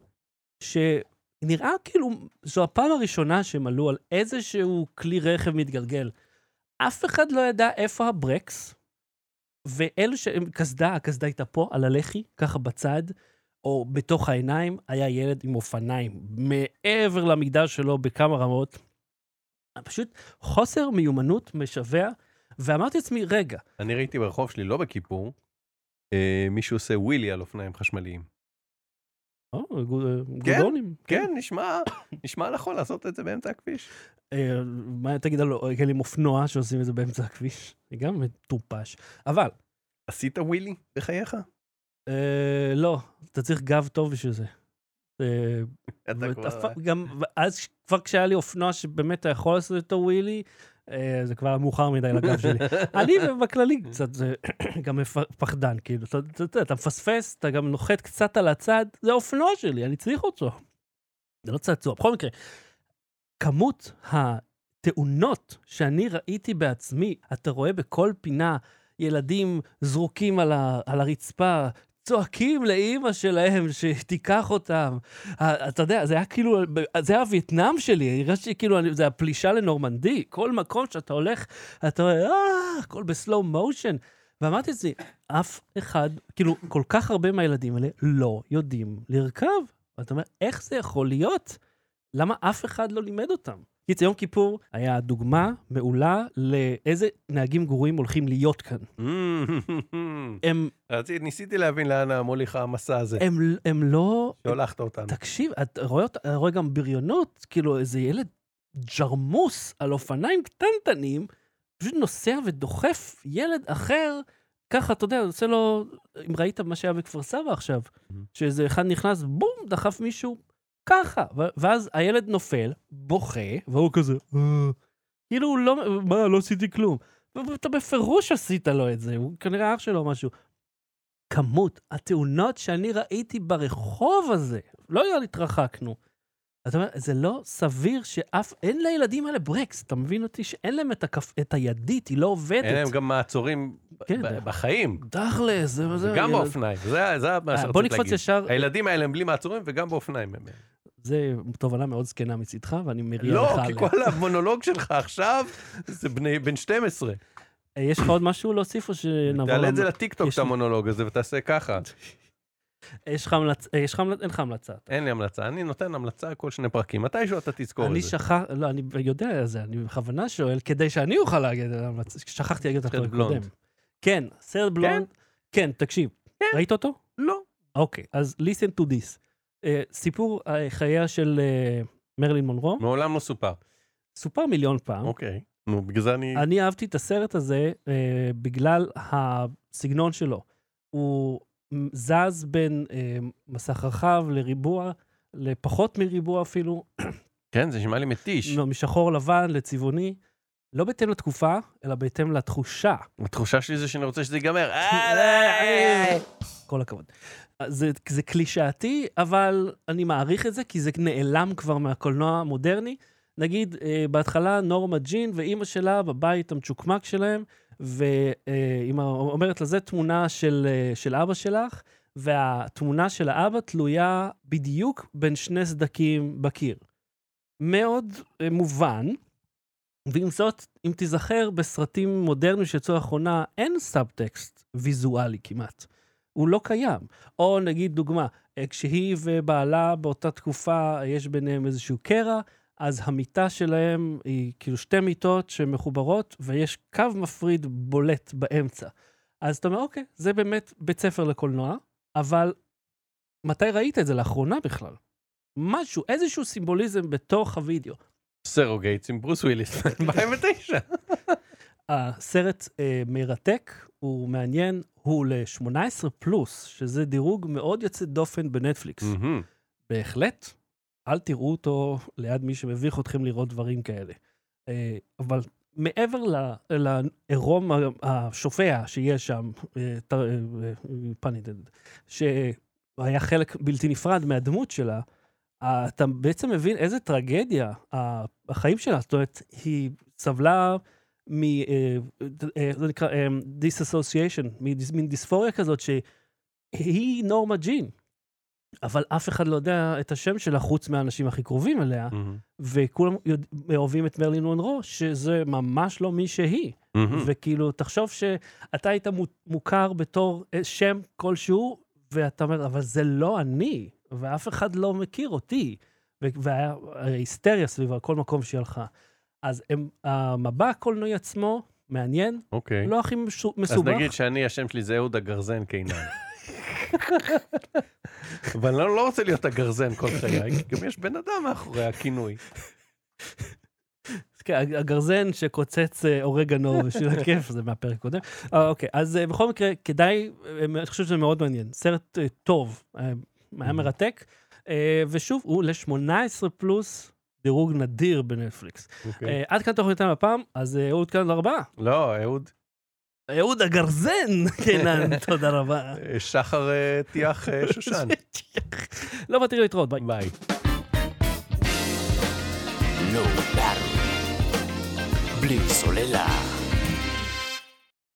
[SPEAKER 1] שנראה כאילו, זו הפעם הראשונה שהם עלו על איזשהו כלי רכב מתגלגל. אף אחד לא ידע איפה הברקס, ואלו שהם, קסדה, הקסדה הייתה פה, על הלחי, ככה בצד, או בתוך העיניים, היה ילד עם אופניים, מעבר למגדר שלו בכמה רמות. פשוט חוסר מיומנות משווע, ואמרתי לעצמי, רגע,
[SPEAKER 2] אני ראיתי ברחוב שלי, לא בכיפור, אה, מישהו עושה ווילי על אופניים חשמליים.
[SPEAKER 1] או, אה, גו-
[SPEAKER 2] כן,
[SPEAKER 1] גודונים.
[SPEAKER 2] כן, נשמע, נשמע נכון לעשות את זה באמצע הכביש.
[SPEAKER 1] אה, מה תגיד על כאלה עם אופנוע שעושים את זה באמצע הכביש? זה גם מטופש. אבל,
[SPEAKER 2] עשית ווילי בחייך?
[SPEAKER 1] אה, לא, אתה צריך גב טוב בשביל זה. אה,
[SPEAKER 2] אתה
[SPEAKER 1] ואתה
[SPEAKER 2] כבר...
[SPEAKER 1] אף- גם אז ש- כבר כשהיה לי אופנוע שבאמת אתה יכול לעשות אותו ווילי, אה, זה כבר היה מאוחר מדי לגב שלי. אני בכללי קצת אה, גם מפ- פחדן, כאילו, אתה- אתה יודע, אתה מפספס, אתה גם נוחת קצת על הצד, זה האופנוע שלי, אני צריך אותו. זה לא צעצוע. בכל מקרה, כמות התאונות שאני ראיתי בעצמי, אתה רואה בכל פינה ילדים זרוקים על, ה, על הרצפה, צועקים לאימא שלהם שתיקח אותם. ה- אתה יודע, זה היה כאילו, זה היה הווייטנאם שלי, הרגשתי כאילו, אני- זה הפלישה לנורמנדי. כל מקום שאתה הולך, אתה רואה, "אה", הכל בסלואו מושן. ואמרתי לעצמי, אף אחד, כאילו, כל כך הרבה מהילדים האלה לא יודעים לרכב. ואתה אומר, איך זה יכול להיות? למה אף אחד לא לימד אותם? קיצר, יום כיפור היה דוגמה מעולה לאיזה נהגים גרועים הולכים להיות כאן. הם,
[SPEAKER 2] רציתי- Mm-hmm. ניסיתי להבין לאן מוליך המסע הזה,
[SPEAKER 1] הם, הם לא...
[SPEAKER 2] שהולכת אותנו.
[SPEAKER 1] תקשיב, אתה רואה, אות- אתה רואה גם בריונות, כאילו איזה ילד ג'רמוס על אופניים קטנטנים, פשוט נוסע ודוחף ילד אחר, ככה, אתה יודע, עושה לו, אם ראית מה שהיה בכפר סבא עכשיו,
[SPEAKER 2] Mhm.
[SPEAKER 1] שאיזה אחד נכנס, בום, דחף מישהו, ככה, ו- ואז הילד נופל, בוכה, והוא כזה, "אה." כאילו הוא לא, מה, לא עשיתי כלום. ו- אתה בפירוש עשית לו את זה, הוא כנראה אח שלו או משהו. כמות התאונות שאני ראיתי ברחוב הזה, לא יודע, התרחקנו. אתה אומר, זה לא סביר שאף, אין לילדים האלה ברקס, אתה מבין אותי? שאין להם את, הכפ... את הידית, היא לא עובדת.
[SPEAKER 2] אין להם גם מעצורים ב-
[SPEAKER 1] כן,
[SPEAKER 2] ב-
[SPEAKER 1] אתה-
[SPEAKER 2] בחיים,
[SPEAKER 1] דכלס, זה... זה-
[SPEAKER 2] גם
[SPEAKER 1] ילד-
[SPEAKER 2] באופניים, זה זה מה
[SPEAKER 1] אה, בוא
[SPEAKER 2] שרציתי
[SPEAKER 1] נקפוץ לא
[SPEAKER 2] להגיד.
[SPEAKER 1] ישר,
[SPEAKER 2] הילדים האלה הם בלי מעצורים וגם באופניים הם.
[SPEAKER 1] זה תובנה מאוד זקנה מצידך, ואני מריע
[SPEAKER 2] לא,
[SPEAKER 1] לך
[SPEAKER 2] כי
[SPEAKER 1] עליה.
[SPEAKER 2] כל המונולוג שלך עכשיו זה בני- בן 12.
[SPEAKER 1] אה, יש לך עוד משהו להוסיף או שנעבור?
[SPEAKER 2] תעלה את
[SPEAKER 1] למ-
[SPEAKER 2] זה לטיקטוק,
[SPEAKER 1] כן, יש
[SPEAKER 2] את
[SPEAKER 1] לי-
[SPEAKER 2] המונולוג הזה, ותעשה ככה.
[SPEAKER 1] יש לך המלצה, אה, יש לך המלצה, אין לך המלצה.
[SPEAKER 2] אין לי המלצה, אני נותן המלצה כל שני פרקים. מתישהו אתה תזכור
[SPEAKER 1] אני
[SPEAKER 2] את זה.
[SPEAKER 1] שכח, לא, אני יודע את זה, אני בכוונה שואל, כדי שאני אוכל להגיד את ההמלצה, שכחתי להגיד את
[SPEAKER 2] סרט
[SPEAKER 1] הפרק
[SPEAKER 2] בלונד.
[SPEAKER 1] הקודם. כן, סרט בלונד, כן, תקשיב, ראית אותו?
[SPEAKER 2] לא.
[SPEAKER 1] אוקיי, אז listen to this. אה, סיפור אה, חייה של אה, מרלין מונרו,
[SPEAKER 2] מעולם לא סופר.
[SPEAKER 1] אה? סופר מיליון פעם.
[SPEAKER 2] אוקיי. נו, בגלל זה אני...
[SPEAKER 1] אני אהבתי את הסרט הזה אה, בגלל הסגנון שלו. הוא מ- זז בין אה, מסך רחב לריבוע, לפחות מריבוע אפילו,
[SPEAKER 2] כן, זה נשמע לי מתיש.
[SPEAKER 1] לא, משחור לבן לצבעוני, לא בהתאם לתקופה, אלא בהתאם לתחושה.
[SPEAKER 2] התחושה שלי זה שאני רוצה שזה ייגמר. אה,
[SPEAKER 1] אה, כל הכבוד. אה, זה, זה קלישאתי, אבל אני מעריך את זה, כי זה נעלם כבר מהקולנוע המודרני, נגיד, אה, בהתחלה נורמה ג'ין ואימא שלה בבית המצ'וקמק שלהם, ואימא אומרת לה, זה תמונה של, אה, של אבא שלך, והתמונה של האבא תלויה בדיוק בין שני סדקים בקיר. מאוד אה, מובן, ועם זאת, אם תיזכר, בסרטים מודרניים שיצאו לאחרונה, אין סאבטקסט ויזואלי כמעט. הוא לא קיים. או נגיד דוגמה, אה, כשהיא ובעלה באותה תקופה, אה, יש ביניהם איזשהו קרע, אז המיטה שלהם היא כאילו שתי מיטות שמחוברות, ויש קו מפריד בולט באמצע. אז אתה אומר, אוקיי, זה באמת בית ספר לקולנוע, אבל מתי ראית את זה לאחרונה בכלל? משהו, איזשהו סימבוליזם בתוך הוידאו.
[SPEAKER 2] סרוגייטס עם ברוס וויליס, 2009.
[SPEAKER 1] הסרט אה, מרתק, הוא מעניין, הוא ל-18 פלוס, שזה דירוג מאוד יוצא דופן בנטפליקס.
[SPEAKER 2] מהמם.
[SPEAKER 1] בהחלט, אל תראו אותו ליד מי שמביך אתכם לראות דברים כאלה. אה, אבל מעבר ל- לעירום ה- השופע שיש שם, אה, ת- אה, אה, פנידד, שהיה חלק בלתי נפרד מהדמות שלה, אה, אתה בעצם מבין איזה טרגדיה ה- החיים שלה. זאת אומרת, היא סבלה מ... אה, אה, זה נקרא אה, disassociation, מדיס- מין דיספוריה כזאת שהיא נורמה ג'ין. אבל אף אחד לא יודע את השם שלה חוץ מהאנשים הכי קרובים אליה,
[SPEAKER 2] מהמם.
[SPEAKER 1] וכולם יודע- אוהבים את מרלין מונרו, שזה ממש לא מי שהיא.
[SPEAKER 2] מהמם.
[SPEAKER 1] וכאילו, תחשוב שאתה היית מו- מוכר בתור אה, שם כלשהו, ואתה אומר, אבל זה לא אני, ואף אחד לא מכיר אותי. ו- והיה הרי היסטריה סביבה, כל מקום שהיא הלכה. אז הם, המבע הקולנועי עצמו, מעניין,
[SPEAKER 2] אוקיי.
[SPEAKER 1] לא הכי מסו-
[SPEAKER 2] אז
[SPEAKER 1] מסובך.
[SPEAKER 2] נגיד שאני, השם שלי זה אהוד הגרזן קינן. אבל אני לא לא רוצה להיות הגרזן כל חיי, כי גם יש בן אדם מאחורי הכינוי.
[SPEAKER 1] כן, הגרזן שקוצץ אה, אורגנו של הכיף, זה מהפרק הקודם. אה, אוקיי, אז אה, בכל מקרה, כדאי, אה, אני חושב שזה מאוד מעניין. סרט אה, טוב, אה, היה מרתק, אה, ושוב, הוא ל-18 פלוס דירוג נדיר בנטפליקס.
[SPEAKER 2] אוקיי.
[SPEAKER 1] אה, עד כאן תוכניתנו הפעם, אז אה, אהוד כאן ארבעה.
[SPEAKER 2] לא, אהוד,
[SPEAKER 1] אהוד הגרזן, כן, תודה רבה.
[SPEAKER 2] אה, שחר אה, טיח אה, שושן.
[SPEAKER 1] לא באתי להתראות, ביי.
[SPEAKER 2] ביי.
[SPEAKER 3] Low Battery. בלי סוללה.